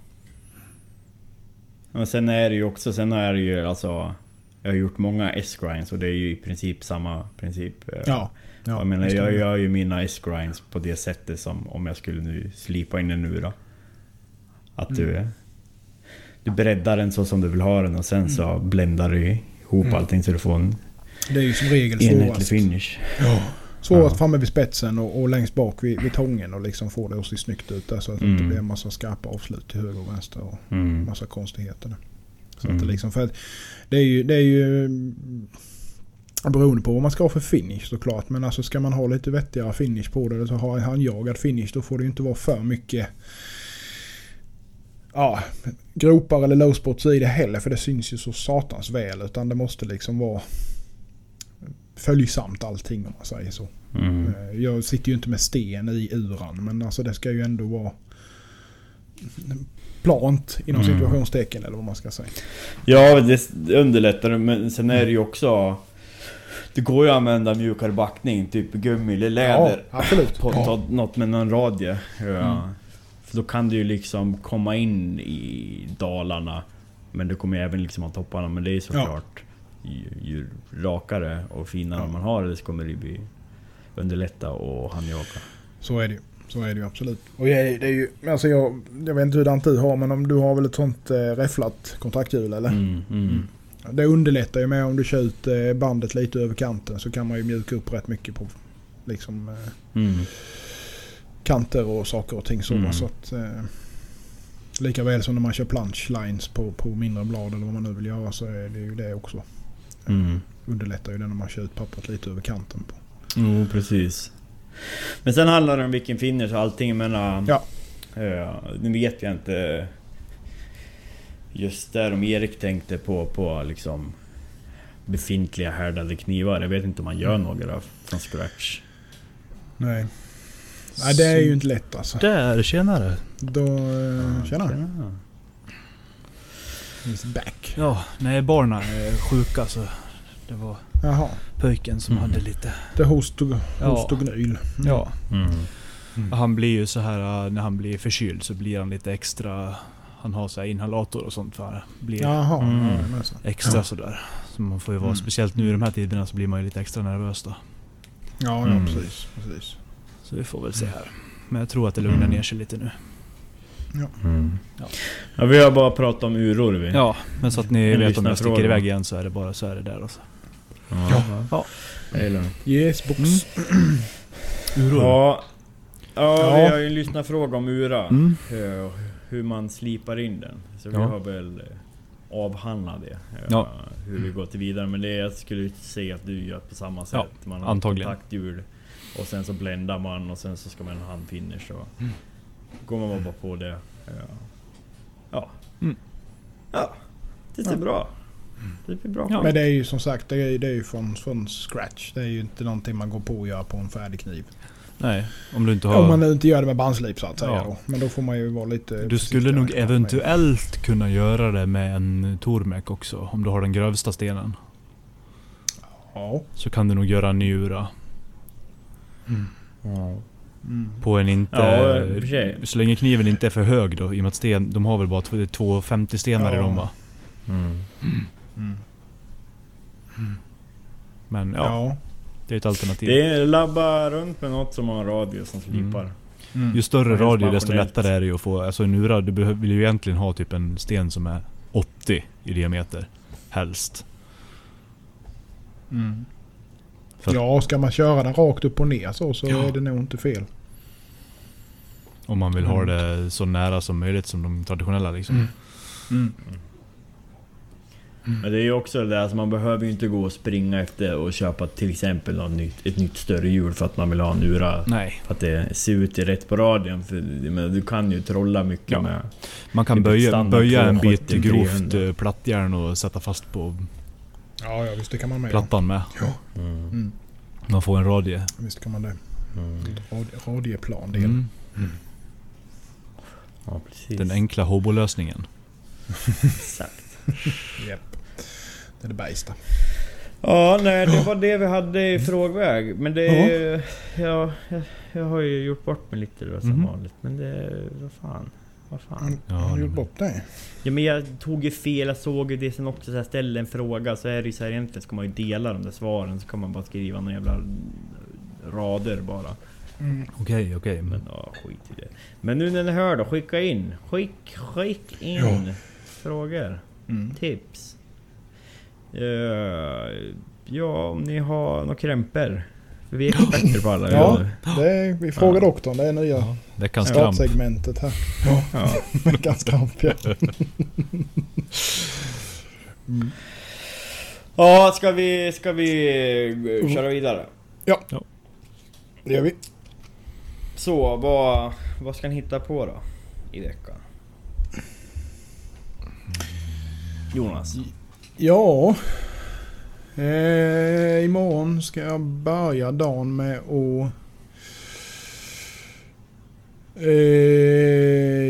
Speaker 1: Men sen är det ju också, sen är det ju alltså... Jag har gjort många S-grinds och det är ju i princip samma princip. eh.
Speaker 3: Ja. ja.
Speaker 1: jag menar,
Speaker 3: visst är
Speaker 1: jag
Speaker 3: det.
Speaker 1: gör ju mina S-grinds på det sättet som om jag skulle nu slipa in en ura. Att
Speaker 3: Mm.
Speaker 1: du... Du breddar den så som du vill ha den och sen så bländar du ihop allting så du får en
Speaker 3: Mm. det är ju som regel
Speaker 1: enhetlig
Speaker 3: svårast.
Speaker 1: finish.
Speaker 3: Svårast framme vid spetsen och, och längst bak vid, vid tången och liksom få det att se snyggt ut där så att det inte
Speaker 1: Mm.
Speaker 3: blir en massa skarpa avslut till höger och vänster och
Speaker 1: Mm.
Speaker 3: massa konstigheter. där. Så
Speaker 1: Mm.
Speaker 3: att det liksom, för att det är ju, det är ju mm, beroende på vad man ska ha för finish såklart. Men alltså ska man ha lite vettigare finish på det eller så har en handjagad finish då får det ju inte vara för mycket ja, gropar eller lowspots i det heller för det syns ju så satans väl. Utan det måste liksom vara följsamt allting om man säger så.
Speaker 1: Mm.
Speaker 3: Eh, Jag sitter ju inte med sten i uran men alltså det ska ju ändå vara plant inom
Speaker 1: Mm.
Speaker 3: situationstecken eller vad man ska säga.
Speaker 1: Ja, det underlättar men sen är det ju också... Det går ju att använda mjukare backning, typ gummi eller läder.
Speaker 3: Ja, absolut.
Speaker 1: På
Speaker 3: Ja.
Speaker 1: ja. Mm. något med någon radie. Ja. För då kan du ju liksom komma in i dalarna. Men du kommer ju även liksom ha topparna. Men det är ju såklart ju, ju rakare och finare man har det så kommer det ju bli underlätta och handjaka.
Speaker 3: Så är det ju. Så är det ju absolut. Och det är, det är ju, alltså jag, jag vet inte hur det du har men om du har väl ett sånt eh, räfflat kontakthjul eller?
Speaker 1: Mm, mm.
Speaker 3: Det underlättar ju med om du kör ut eh, bandet lite över kanten så kan man ju mjuka upp rätt mycket på liksom eh,
Speaker 1: Mm.
Speaker 3: kanter och saker och ting så.
Speaker 1: Mm.
Speaker 3: så att, eh, lika väl som när man kör plunge lines på, på mindre blad eller vad man nu vill göra så är det ju det också.
Speaker 1: Mm.
Speaker 3: Underlättar ju det när man kör ut pappret lite över kanten. På.
Speaker 1: Jo, precis. Men sen handlar det om vilken finish och allting. Men,
Speaker 3: Ja.
Speaker 1: eh, nu vet jag inte Just där om Erik tänkte på, på liksom befintliga härdade knivar. Jag vet inte om man gör några från scratch.
Speaker 3: Nej. Nej, det är ju inte lätt alltså.
Speaker 2: Där, tjenare!
Speaker 3: Då... eh, Tjena.
Speaker 1: Ja.
Speaker 3: He's back.
Speaker 2: Ja, nej barnen är sjuka så det var
Speaker 3: Jaha.
Speaker 2: pöjken som
Speaker 1: Mm.
Speaker 2: hade lite...
Speaker 3: Det är host och, host
Speaker 2: Ja.
Speaker 3: och gnyl.
Speaker 2: Ja.
Speaker 1: Mm.
Speaker 2: Han blir ju så här eh, när han blir förkyld så blir han lite extra... Han har så här inhalator och sånt för han blir
Speaker 3: Jaha.
Speaker 1: Mm.
Speaker 3: Ja, men så.
Speaker 2: extra sådär. Så man får ju vara,
Speaker 1: Mm.
Speaker 2: speciellt nu i de här tiderna så blir man ju lite extra nervös då.
Speaker 3: Ja, ja
Speaker 1: Mm.
Speaker 3: precis. precis.
Speaker 2: Så vi får väl se här. Men jag tror att det lugnar
Speaker 1: Mm.
Speaker 2: ner sig lite nu. Ja.
Speaker 1: Ja, vi har bara pratat om uror vi.
Speaker 2: Ja, men så att ni
Speaker 1: En
Speaker 2: vet om jag
Speaker 1: lyssnarfråga.
Speaker 2: sticker iväg igen så är det bara så är det där alltså.
Speaker 1: ja. Mm.
Speaker 2: Ja.
Speaker 1: Jag gillar det.
Speaker 3: Yes, box.
Speaker 1: Ja, ja,
Speaker 3: Ja.
Speaker 1: vi har ju en lyssnarfråga om ura.
Speaker 2: Mm.
Speaker 1: Eh, Hur man slipar in den. Så vi
Speaker 2: Ja.
Speaker 1: har väl eh, avhandlat det. eh,
Speaker 2: Ja.
Speaker 1: Hur vi går till vidare. Men det jag skulle säga att du gör på samma sätt.
Speaker 2: Ja,
Speaker 1: man har
Speaker 2: antagligen.
Speaker 1: kontakthjul. Och sen så bländar man och sen så ska man ha handfinish. Och
Speaker 2: Mm.
Speaker 1: går man bara på det. eh, Ja.
Speaker 2: Mm.
Speaker 1: Ja. Det är bra. Det blir bra.
Speaker 2: Ja.
Speaker 3: Men det är ju som sagt, det är, det är ju från, från scratch. Det är ju inte någonting man går på att göra på en färdig kniv.
Speaker 2: Nej, om du inte har...
Speaker 3: Om man nu inte gör det med bandslip så att säga
Speaker 2: Ja.
Speaker 3: då. Men då får man ju vara lite...
Speaker 2: Du
Speaker 3: försiktigare
Speaker 2: skulle nog
Speaker 3: kanske.
Speaker 2: eventuellt kunna göra det med en Tormek också. Om du har den grövsta stenen.
Speaker 3: Ja.
Speaker 2: Så kan du nog göra en ny ura.
Speaker 3: Mm.
Speaker 2: På en inte...
Speaker 1: Ja, i och för sig.
Speaker 2: så länge kniven inte är för hög då. I och med att sten, de har väl bara 250 stenar i
Speaker 3: Ja.
Speaker 2: dem va?
Speaker 3: Mm.
Speaker 2: Men ja,
Speaker 3: Ja.
Speaker 2: det är ett alternativ.
Speaker 1: Det är labba runt med något som har en radio som slipar.
Speaker 3: Mm.
Speaker 2: Ju större
Speaker 1: Helt
Speaker 2: radio desto
Speaker 1: marginellt.
Speaker 2: lättare är det ju att få. Alltså en ura, du behöver, vill ju egentligen ha typ en sten som är 80 i diameter. Helst.
Speaker 3: Mm.
Speaker 2: För att-
Speaker 3: Ja, ska man köra den rakt upp och ner så, så
Speaker 2: Ja.
Speaker 3: är det nog inte fel.
Speaker 2: Om man vill ha det så nära som möjligt som de traditionella liksom.
Speaker 1: Men det är ju också det där, alltså man behöver ju inte gå och springa efter och köpa till exempel något nytt, ett nytt större hjul för att man vill ha en ura.
Speaker 2: Nej.
Speaker 1: För att det ser ut i rätt på radion. För jag menar, du kan ju trolla mycket
Speaker 2: Ja.
Speaker 1: med.
Speaker 2: Man kan
Speaker 1: Typ ett
Speaker 2: böja,
Speaker 1: standard
Speaker 2: böja en bit
Speaker 1: 270,
Speaker 2: grovt
Speaker 1: 300.
Speaker 2: eh, plattjärn och sätta fast på
Speaker 3: Ja, ja visst det kan man med.
Speaker 2: plattan med.
Speaker 3: Ja. Mm.
Speaker 2: Man får en radie.
Speaker 3: Visst kan man det.
Speaker 1: Mm.
Speaker 3: Rad- Radieplan del.
Speaker 2: Mm.
Speaker 1: Ja, precis.
Speaker 2: Den enkla hobolösningen.
Speaker 1: Exakt.
Speaker 3: Japp. Det är det bästa.
Speaker 1: Ja, nej, det var det vi hade i frågväg. Men det är ju... Ja, jag, jag har ju gjort bort mig lite då, som
Speaker 2: Mhm.
Speaker 1: vanligt. Men det... Vad fan. Vad fan.
Speaker 3: Han,
Speaker 2: Ja,
Speaker 3: han har
Speaker 2: det-
Speaker 3: gjort bort det.
Speaker 1: Ja, men jag tog ju fel, jag såg ju det sen också. Så jag ställde en fråga så är det ju så här egentligen ska man ju dela de där svaren så kan man bara skriva några jävla rader bara.
Speaker 2: Okej, okej.
Speaker 1: Men ja, skit i det. Men nu när ni hör då, skicka in. Skick, skick in
Speaker 3: Ja.
Speaker 1: frågor,
Speaker 3: Mm.
Speaker 1: tips. Eh, ja, om ni har några krämpor. För Vi är experter på alla
Speaker 3: Ja.
Speaker 1: grejer.
Speaker 3: Det är, vi frågar
Speaker 1: Ja.
Speaker 3: doktorn. Det är nya
Speaker 2: Veckans kramp.
Speaker 3: startsegmentet här.
Speaker 1: Ja.
Speaker 3: Ganska hampiga.
Speaker 1: ja, ska vi, ska vi eh,
Speaker 3: Mm.
Speaker 1: köra vidare?
Speaker 3: Det gör vi.
Speaker 1: Så, vad, vad ska ni hitta på då? I veckan? Jonas?
Speaker 3: Ja. Eh, imorgon ska jag börja dagen med att... Eh,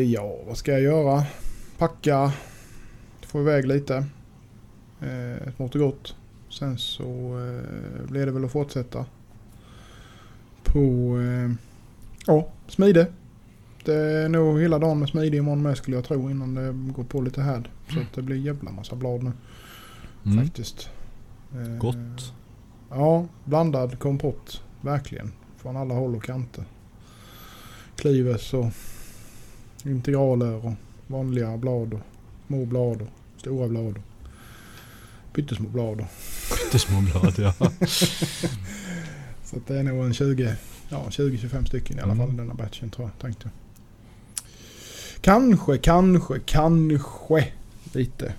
Speaker 3: ja, vad ska jag göra? Packa. Få iväg lite. Eh, smått och gott. Sen så eh, blir det väl att fortsätta. På... Eh, ja, smide. Det är nog hela dagen med smide imorgon med skulle jag tro innan det går på lite härd. Så att det blir jävla massa blad nu
Speaker 2: Mm.
Speaker 3: faktiskt. Eh,
Speaker 2: Gott.
Speaker 3: Ja, blandad kompott. Verkligen. Från alla håll och kanter. Klives och integraler och vanliga blad och små blad och stora blad och pyttesmå blad. och-
Speaker 2: Pyttesmå blad ja.
Speaker 3: Så att det är nog en 20, ja, 20-25 stycken i alla
Speaker 2: Mm.
Speaker 3: fall i denna batchen tror jag, tänkte jag. Kanske, kanske, kanske lite.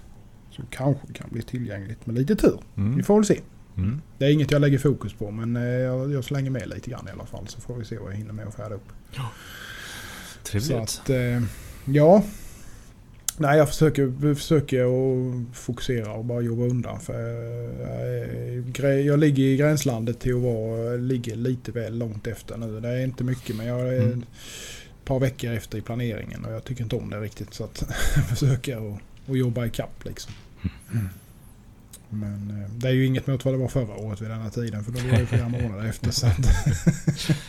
Speaker 3: Så kanske kan bli tillgängligt med lite tur. Vi
Speaker 2: Mm.
Speaker 3: får väl se.
Speaker 2: Mm.
Speaker 3: Det är inget jag lägger fokus på men eh, jag, jag slänger med lite grann i alla fall så får vi se vad jag hinner med att färda upp. Så
Speaker 2: Trevligt.
Speaker 3: att, eh, ja. Nej, jag försöker, försöker att fokusera och bara jobba undan. För jag, är- gre- jag ligger i gränslandet till att vara, ligger lite väl långt efter nu. Det är inte mycket men jag är
Speaker 2: Mm.
Speaker 3: ett par veckor efter i planeringen och jag tycker inte om det riktigt. Så att jag försöker att, att jobba ikapp liksom. Men eh, det är ju inget mot vad det var förra året vid den här tiden för då var det ju flera månader efter. Så att,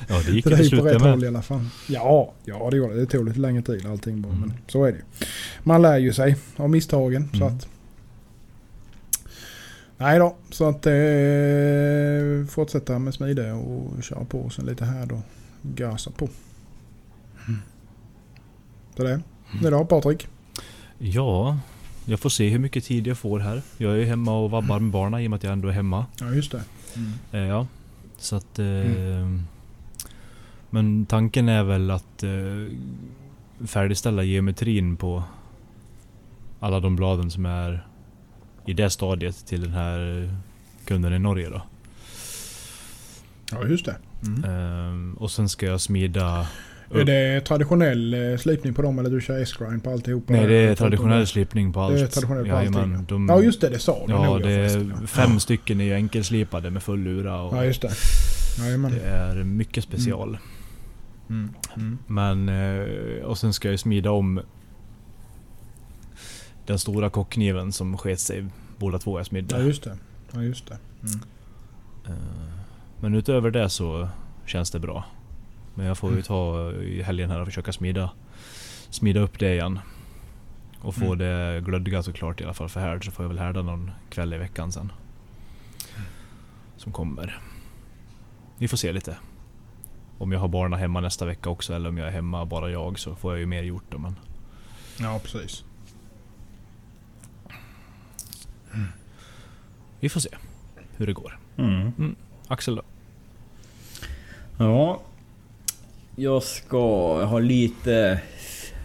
Speaker 2: Ja, det gick
Speaker 3: det
Speaker 2: ju
Speaker 3: är
Speaker 2: till
Speaker 3: ju
Speaker 2: slut
Speaker 3: på rätt
Speaker 2: det
Speaker 3: håll i
Speaker 2: med.
Speaker 3: alla fall. Ja, ja det gjorde det. Det tog lite längre tid allting bara,
Speaker 2: Mm.
Speaker 3: men så är det ju. Man lär ju sig av misstagen. Så
Speaker 2: Mm.
Speaker 3: att... Nej då, så att eh, fortsätta med smide och köra på och sen lite här då. Gasa på. Så det.
Speaker 2: Mm.
Speaker 3: Det är då Patrik.
Speaker 2: Ja, jag får se hur mycket tid jag får här. Jag är ju hemma och vabbar med barnen i och med att jag ändå är hemma.
Speaker 3: Ja just det.
Speaker 2: Eh, ja. Så att... Eh,
Speaker 3: Mm.
Speaker 2: Men tanken är väl att eh, färdigställa geometrin på alla de bladen som är i det stadiet till den här kunden i Norge då.
Speaker 3: Ja just det.
Speaker 2: Ehm, och sen ska jag smida...
Speaker 3: Är det traditionell eh, slipning på dem eller du kör S-grind på alltihopa?
Speaker 2: Nej det är
Speaker 3: Förutom
Speaker 2: traditionell
Speaker 3: det?
Speaker 2: slipning på allt.
Speaker 3: Det är traditionell på
Speaker 2: Jajamän,
Speaker 3: allting,
Speaker 2: de,
Speaker 3: Ja just det, det sa du
Speaker 2: Ja,
Speaker 3: nog,
Speaker 2: det
Speaker 3: förresten,
Speaker 2: är
Speaker 3: ja.
Speaker 2: fem stycken är ju enkelslipade med full lura och
Speaker 3: Ja just det. Jajamän.
Speaker 2: det är mycket special.
Speaker 3: Mm. Mm.
Speaker 2: Men, eh, och sen ska jag ju smida om den stora kockkniven som sket sig båda två jag smidde.
Speaker 3: Ja just det. Ja just det.
Speaker 2: Eh, Men utöver det så känns det bra. Men jag
Speaker 1: Mm.
Speaker 2: får ju ta eh, i helgen här och försöka smida, smida upp det igen. Och få
Speaker 3: Mm.
Speaker 2: det glödgat och klart i alla fall för härd. Så får jag väl härda någon kväll i veckan sen.
Speaker 1: Mm.
Speaker 2: Som kommer. Vi får se lite. Om jag har barnen hemma nästa vecka också eller om jag är hemma bara jag så får jag ju mer gjort. då, Men
Speaker 3: Ja precis.
Speaker 2: vi får se hur det går.
Speaker 1: Mm.
Speaker 2: Axel då?
Speaker 1: Ja. Jag ska ha lite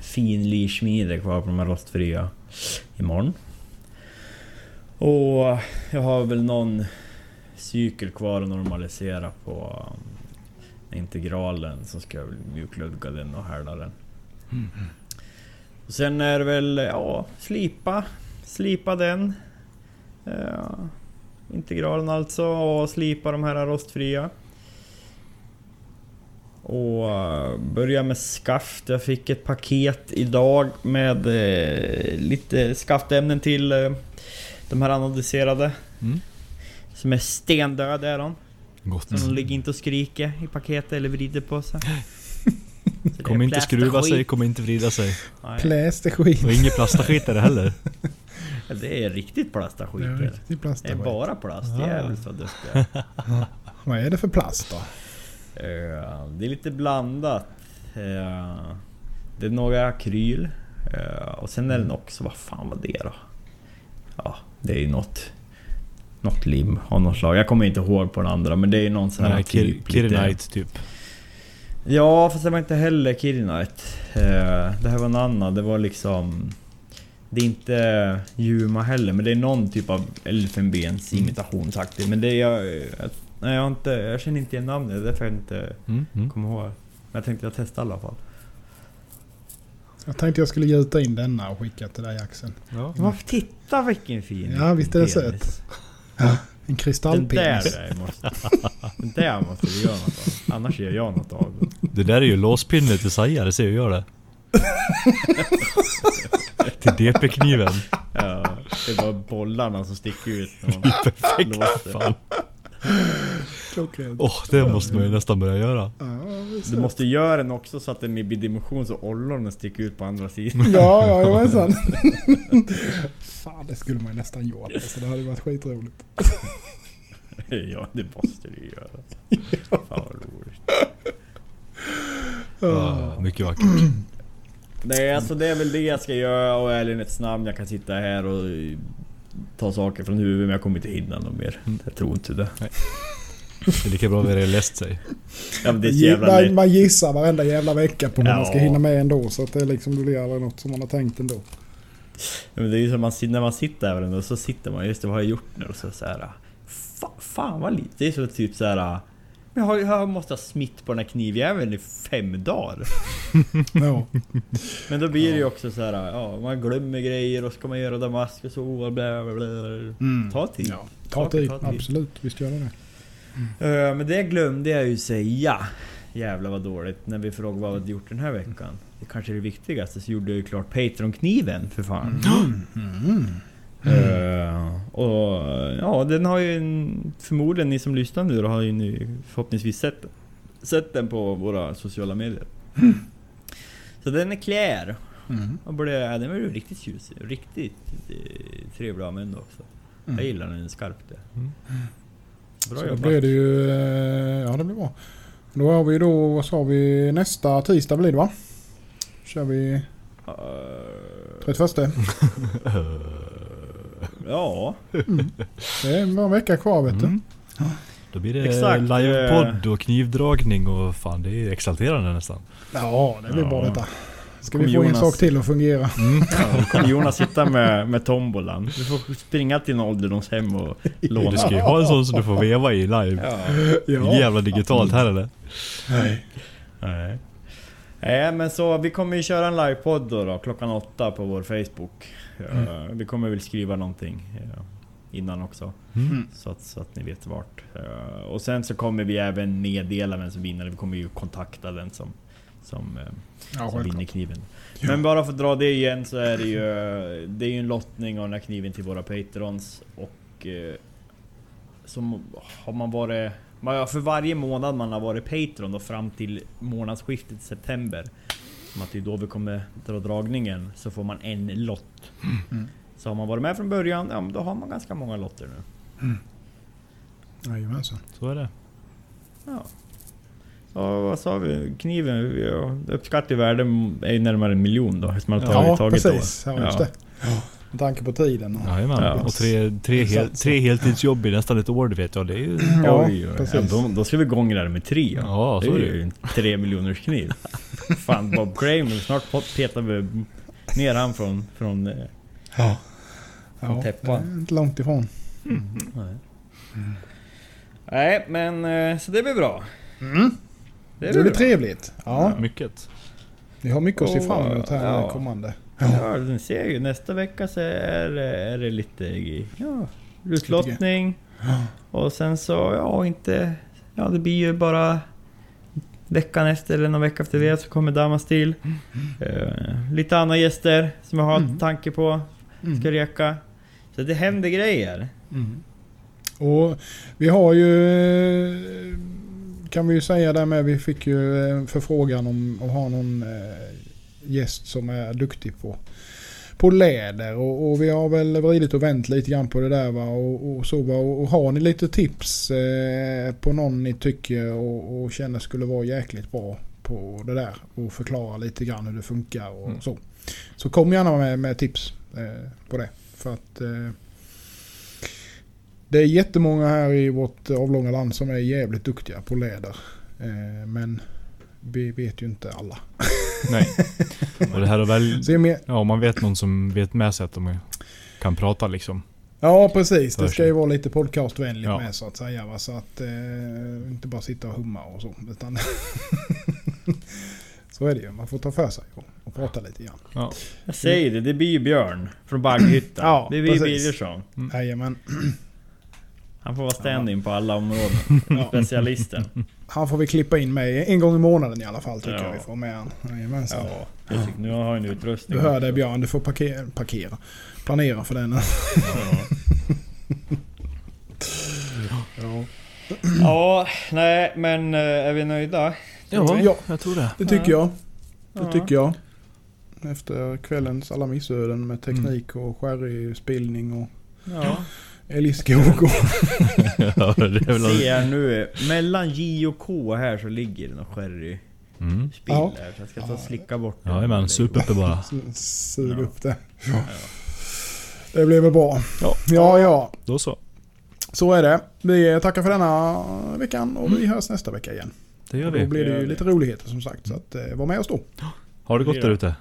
Speaker 1: finlirsmide kvar på de här rostfria imorgon. Och jag har väl någon cykel kvar att normalisera på um, integralen så ska jag väl mjuklugga den och härda den. Och sen är det väl, ja, slipa. Slipa den. Eh, integralen alltså och slipa de här rostfria. Och eh, börja med skaft. Jag fick ett paket idag med eh, lite skaftämnen till eh, de här anodiserade.
Speaker 2: Mm.
Speaker 1: Som är stendöda är de.
Speaker 2: Gott.
Speaker 1: Så de ligger inte och skriker i paketet eller vrider på sig. Så det är
Speaker 2: Kommer inte
Speaker 1: plästa
Speaker 2: skruva sig,
Speaker 1: skit.
Speaker 2: kommer inte vrida sig.
Speaker 1: Nej,
Speaker 3: Pläst är skit.
Speaker 2: Och inget plastaskit är det heller.
Speaker 1: Det är riktigt plasta skit.
Speaker 3: Det är
Speaker 1: är det.
Speaker 3: riktig
Speaker 1: Det är
Speaker 3: plastskit.
Speaker 1: bara plast. Jävligt vad duktig jag är.
Speaker 3: Vad är det för plast då?
Speaker 1: Eh, Det är lite blandat. Eh, Det är några akryl. eh, Och sen är den också, vad fan var det då? Ja, det är ju något. Något lim av något slag. Jag kommer inte ihåg på den andra men det är ju någon sån här
Speaker 2: Nej, Kir-
Speaker 1: typ lite-
Speaker 2: Kirinite typ.
Speaker 1: Ja, fast det var inte heller Kirinite. Eh, Det här var en annan. Det var liksom... Det är inte Juma heller, men det är någon typ av elfenbens imitationsaktigt. Men det är jag... jag- Nej, jag, har inte, jag känner inte igen namnet. Det är därför jag inte
Speaker 2: Mm, mm.
Speaker 1: kommer ihåg. Men jag tänkte jag testar i alla fall.
Speaker 3: Mm. Jag tänkte jag skulle gjuta in denna och skicka till dig Axel.
Speaker 2: Ja.
Speaker 1: Men titta vilken fin
Speaker 3: Ja, visst är det
Speaker 1: penis.
Speaker 3: söt. En
Speaker 1: Den där,
Speaker 3: kristallpenis.
Speaker 1: där måste, den där måste vi göra något av. Annars gör jag något av den.
Speaker 2: Det där är ju låspinne till Saja, det ser ju jag det. till DP-kniven.
Speaker 1: Ja, det är bara bollarna som sticker ut. när man låser.
Speaker 2: Fan.
Speaker 3: Klockrent.
Speaker 2: Åh, det måste man ju nästan börja göra.
Speaker 3: Ja, visst.
Speaker 1: Du måste göra den också så att den blir dimension så ollonen sticker ut på andra sidan.
Speaker 3: ja, ja, jajamensan. Fan, det skulle man ju nästan gjort. Alltså, det hade varit skitroligt.
Speaker 1: ja, det måste du göra. Fan vad roligt.
Speaker 2: Ja, Ah, mycket vackert.
Speaker 1: Nej, alltså det är väl det jag ska göra och i ärlighetens namn. Jag kan sitta här och eh, ta saker från huvudet men jag kommer inte hinna något mer. Jag tror inte det.
Speaker 2: Det är lika bra att det läst sig.
Speaker 1: Ja, men det är så
Speaker 3: Gi-
Speaker 1: jävla
Speaker 3: man,
Speaker 1: lätt.
Speaker 3: man gissar varenda jävla vecka på vad man ska
Speaker 1: Ja.
Speaker 3: hinna med ändå. Så att det liksom det blir aldrig något som man har tänkt ändå.
Speaker 1: Ja, Men det är ju som man, sit- när man sitter här och så sitter man just det, vad har jag gjort nu? Och så, så här, fa, fan vad lite. Det är så typ så här. Men jag, har, jag måste ha smitt på den här knivjäveln i fem dagar.
Speaker 3: Ja.
Speaker 1: Men då blir det ju också så här, ja, man glömmer grejer och ska man göra Damaskus och bla bla bla.
Speaker 3: Mm.
Speaker 1: Ta tid.
Speaker 3: Ja. Ta tid,
Speaker 1: Ta tid.
Speaker 3: absolut. Visst gör det det.
Speaker 1: Eh, Men det glömde jag ju säga. Jävlar vad dåligt. När vi frågade vad vi hade gjort den här veckan. Det kanske är det viktigaste. Så gjorde jag ju klart Patreon-kniven för fan.
Speaker 3: Mm.
Speaker 1: Eh, och ja, den har ju en, förmodligen ni som lyssnar nu då har ju ni förhoppningsvis sett, sett den på våra sociala medier. Så den är klar.
Speaker 3: Mm.
Speaker 1: Och blev, ja, den var ju riktigt tjusig. Riktigt eh, trevlig att använda också.
Speaker 3: Mm.
Speaker 1: Jag gillar den skarpt. det.
Speaker 2: Mm.
Speaker 1: Bra
Speaker 3: Så då
Speaker 1: jobbat.
Speaker 3: blir det ju... eh, Ja, det blir bra. Då har vi då, vad sa vi, nästa tisdag blir det va? Kör vi
Speaker 1: Eh,
Speaker 3: 31.
Speaker 1: ja.
Speaker 3: Det är bara en vecka kvar vet du.
Speaker 2: Mm. Då blir det
Speaker 1: Exakt,
Speaker 2: livepodd och knivdragning och fan det är exalterande nästan.
Speaker 3: Ja, det blir
Speaker 1: Ja.
Speaker 3: bra detta. Ska
Speaker 1: Kommer
Speaker 3: vi få en
Speaker 1: Jonas- Mm.
Speaker 3: sak till att fungera?
Speaker 1: Ja, då kommer Jonas sitta med, med tombolan. Du får springa till en ålderdomshem och låna.
Speaker 2: Du ska ju ha en sån som du får veva i live.
Speaker 1: Ja.
Speaker 2: Jävla digitalt här eller?
Speaker 3: Nej.
Speaker 1: Nej. Nej men så vi kommer ju köra en livepodd då, då klockan åtta på vår Facebook. Eh, Vi kommer väl skriva någonting eh, innan också.
Speaker 2: Mm.
Speaker 1: Så, att, så att ni vet vart. Eh, Och sen så kommer vi även meddela vem som vinner. Vi kommer ju kontakta den som, som eh,
Speaker 3: Ja,
Speaker 1: som vinner
Speaker 3: självklart.
Speaker 1: kniven. Men bara för att dra det igen så är det ju... Det är ju en lottning av den här kniven till våra patrons och... eh, Som har man varit... man har- För varje månad man har varit patron då fram till månadsskiftet i september. Som att det är då vi kommer dra dragningen. Så får man en lott.
Speaker 3: Mm.
Speaker 1: Så har man varit med från början, ja men då har man ganska många lotter nu.
Speaker 3: Jajamensan.
Speaker 2: Så är det.
Speaker 1: Ja. Ja, vad sa vi? Kniven, ja, uppskatt i värde är ju närmare en miljon då. Eftersom man har tagit,
Speaker 3: Ja,
Speaker 1: tagit då.
Speaker 3: precis. Ja, just det. Ja. Med tanke på tiden. och-
Speaker 2: Jajamän.
Speaker 1: Ja.
Speaker 2: Och tre, tre, hel, tre heltidsjobb i nästan ett år, det vet jag. Det är ju...
Speaker 3: Ja,
Speaker 1: oj, oj.
Speaker 3: precis.
Speaker 1: Ja, då, då ska vi gångra det med tre. Ja.
Speaker 2: Ja,
Speaker 1: det
Speaker 2: så är
Speaker 1: är
Speaker 2: det ju.
Speaker 1: ju en tre miljoners kniv. Fan Bob Crane, snart pot- petar vi ner han från... från eh,
Speaker 3: Ja.
Speaker 1: Från täppan.
Speaker 3: det är Inte långt ifrån.
Speaker 1: nej. nej men eh, så det blir bra.
Speaker 3: Det
Speaker 1: Det
Speaker 3: blir
Speaker 1: blir bra.
Speaker 3: trevligt. Ja.
Speaker 2: Mycket.
Speaker 3: Vi har mycket att se fram emot här
Speaker 1: Ja.
Speaker 3: kommande.
Speaker 1: Ja, ni ser ju. Nästa vecka så är, det- är det lite ja, utlottning. Och sen så, ja inte... Ja det blir ju bara veckan efter eller någon vecka efter det så kommer Damastil.
Speaker 3: Mm.
Speaker 1: Eh, lite andra gäster som jag har tanke på
Speaker 3: Mm.
Speaker 1: ska reka. Så det händer grejer.
Speaker 3: Och vi har ju... eh, Kan vi ju säga där med. Vi fick ju en förfrågan om att ha någon eh, gäst som är duktig på, på läder. Och, och vi har väl vridit och vänt lite grann på det där va. Och, och så va. Och, och har ni lite tips eh, på någon ni tycker och, och känner skulle vara jäkligt bra på det där. Och förklara lite grann hur det funkar och
Speaker 2: Mm.
Speaker 3: så. Så kom gärna med, med tips eh, på det. För att... Eh, det är jättemånga här i vårt avlånga land som är jävligt duktiga på läder. Eh, Men vi vet ju inte alla.
Speaker 2: Nej. Och det här är väl...
Speaker 3: Så jag men,
Speaker 2: Ja, man vet någon som vet med sig att de kan prata liksom.
Speaker 3: ja precis, det
Speaker 2: Hörs
Speaker 3: ska ju vara lite podcastvänligt
Speaker 2: Ja.
Speaker 3: med så att säga. Va? Så att eh, inte bara sitta och humma och så. Utan så är det ju, man får ta för sig och, och prata lite grann.
Speaker 2: Ja.
Speaker 1: Jag säger det, det blir ju Björn från Bagghyttan.
Speaker 3: Mm. Ja,
Speaker 1: det blir
Speaker 3: precis.
Speaker 1: Birgersson.
Speaker 3: Jajamän,
Speaker 1: Han får vara stand-in på alla områden.
Speaker 3: Ja.
Speaker 1: Specialisten.
Speaker 3: han får vi klippa in med en gång i månaden i alla fall tycker
Speaker 1: Ja.
Speaker 3: jag vi får med han. Jajamensan.
Speaker 1: Ja, jag tycker, nu har jag en utrustning.
Speaker 3: Du hör det Björn, du får parkera, parkera. planera för den. ja.
Speaker 1: Ja, nej men eh, är vi nöjda?
Speaker 3: Ja.
Speaker 2: jag tror
Speaker 3: Det tycker jag. Det
Speaker 1: Ja.
Speaker 3: tycker jag. Efter kvällens alla missöden med teknik
Speaker 1: Mm.
Speaker 3: och sherryspillning och
Speaker 1: Ja.
Speaker 3: älgskog och...
Speaker 2: ja, det är väl
Speaker 1: Se här nu, eh, mellan J och K här så ligger det någon sherry
Speaker 2: mm.
Speaker 1: spill
Speaker 3: Ja.
Speaker 1: här. Så jag ska ta och slicka bort den.
Speaker 2: Jajamän, super det bara.
Speaker 3: Sug
Speaker 1: Ja.
Speaker 3: upp det. Ja. Det blev väl bra.
Speaker 2: Ja.
Speaker 3: ja, ja.
Speaker 2: Då så.
Speaker 3: Så är det. Vi tackar för denna veckan och vi hörs nästa vecka igen.
Speaker 2: Det gör
Speaker 3: Då
Speaker 2: vi.
Speaker 3: blir det
Speaker 1: Mm. gör
Speaker 3: ju
Speaker 1: vi.
Speaker 3: lite roligheter som sagt. Så att, eh, var med oss då.
Speaker 2: Har det gott där ute?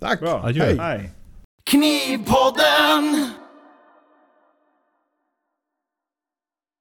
Speaker 3: Tack!
Speaker 1: Bra.
Speaker 2: Adjö.
Speaker 1: Hej.
Speaker 4: Knivpodden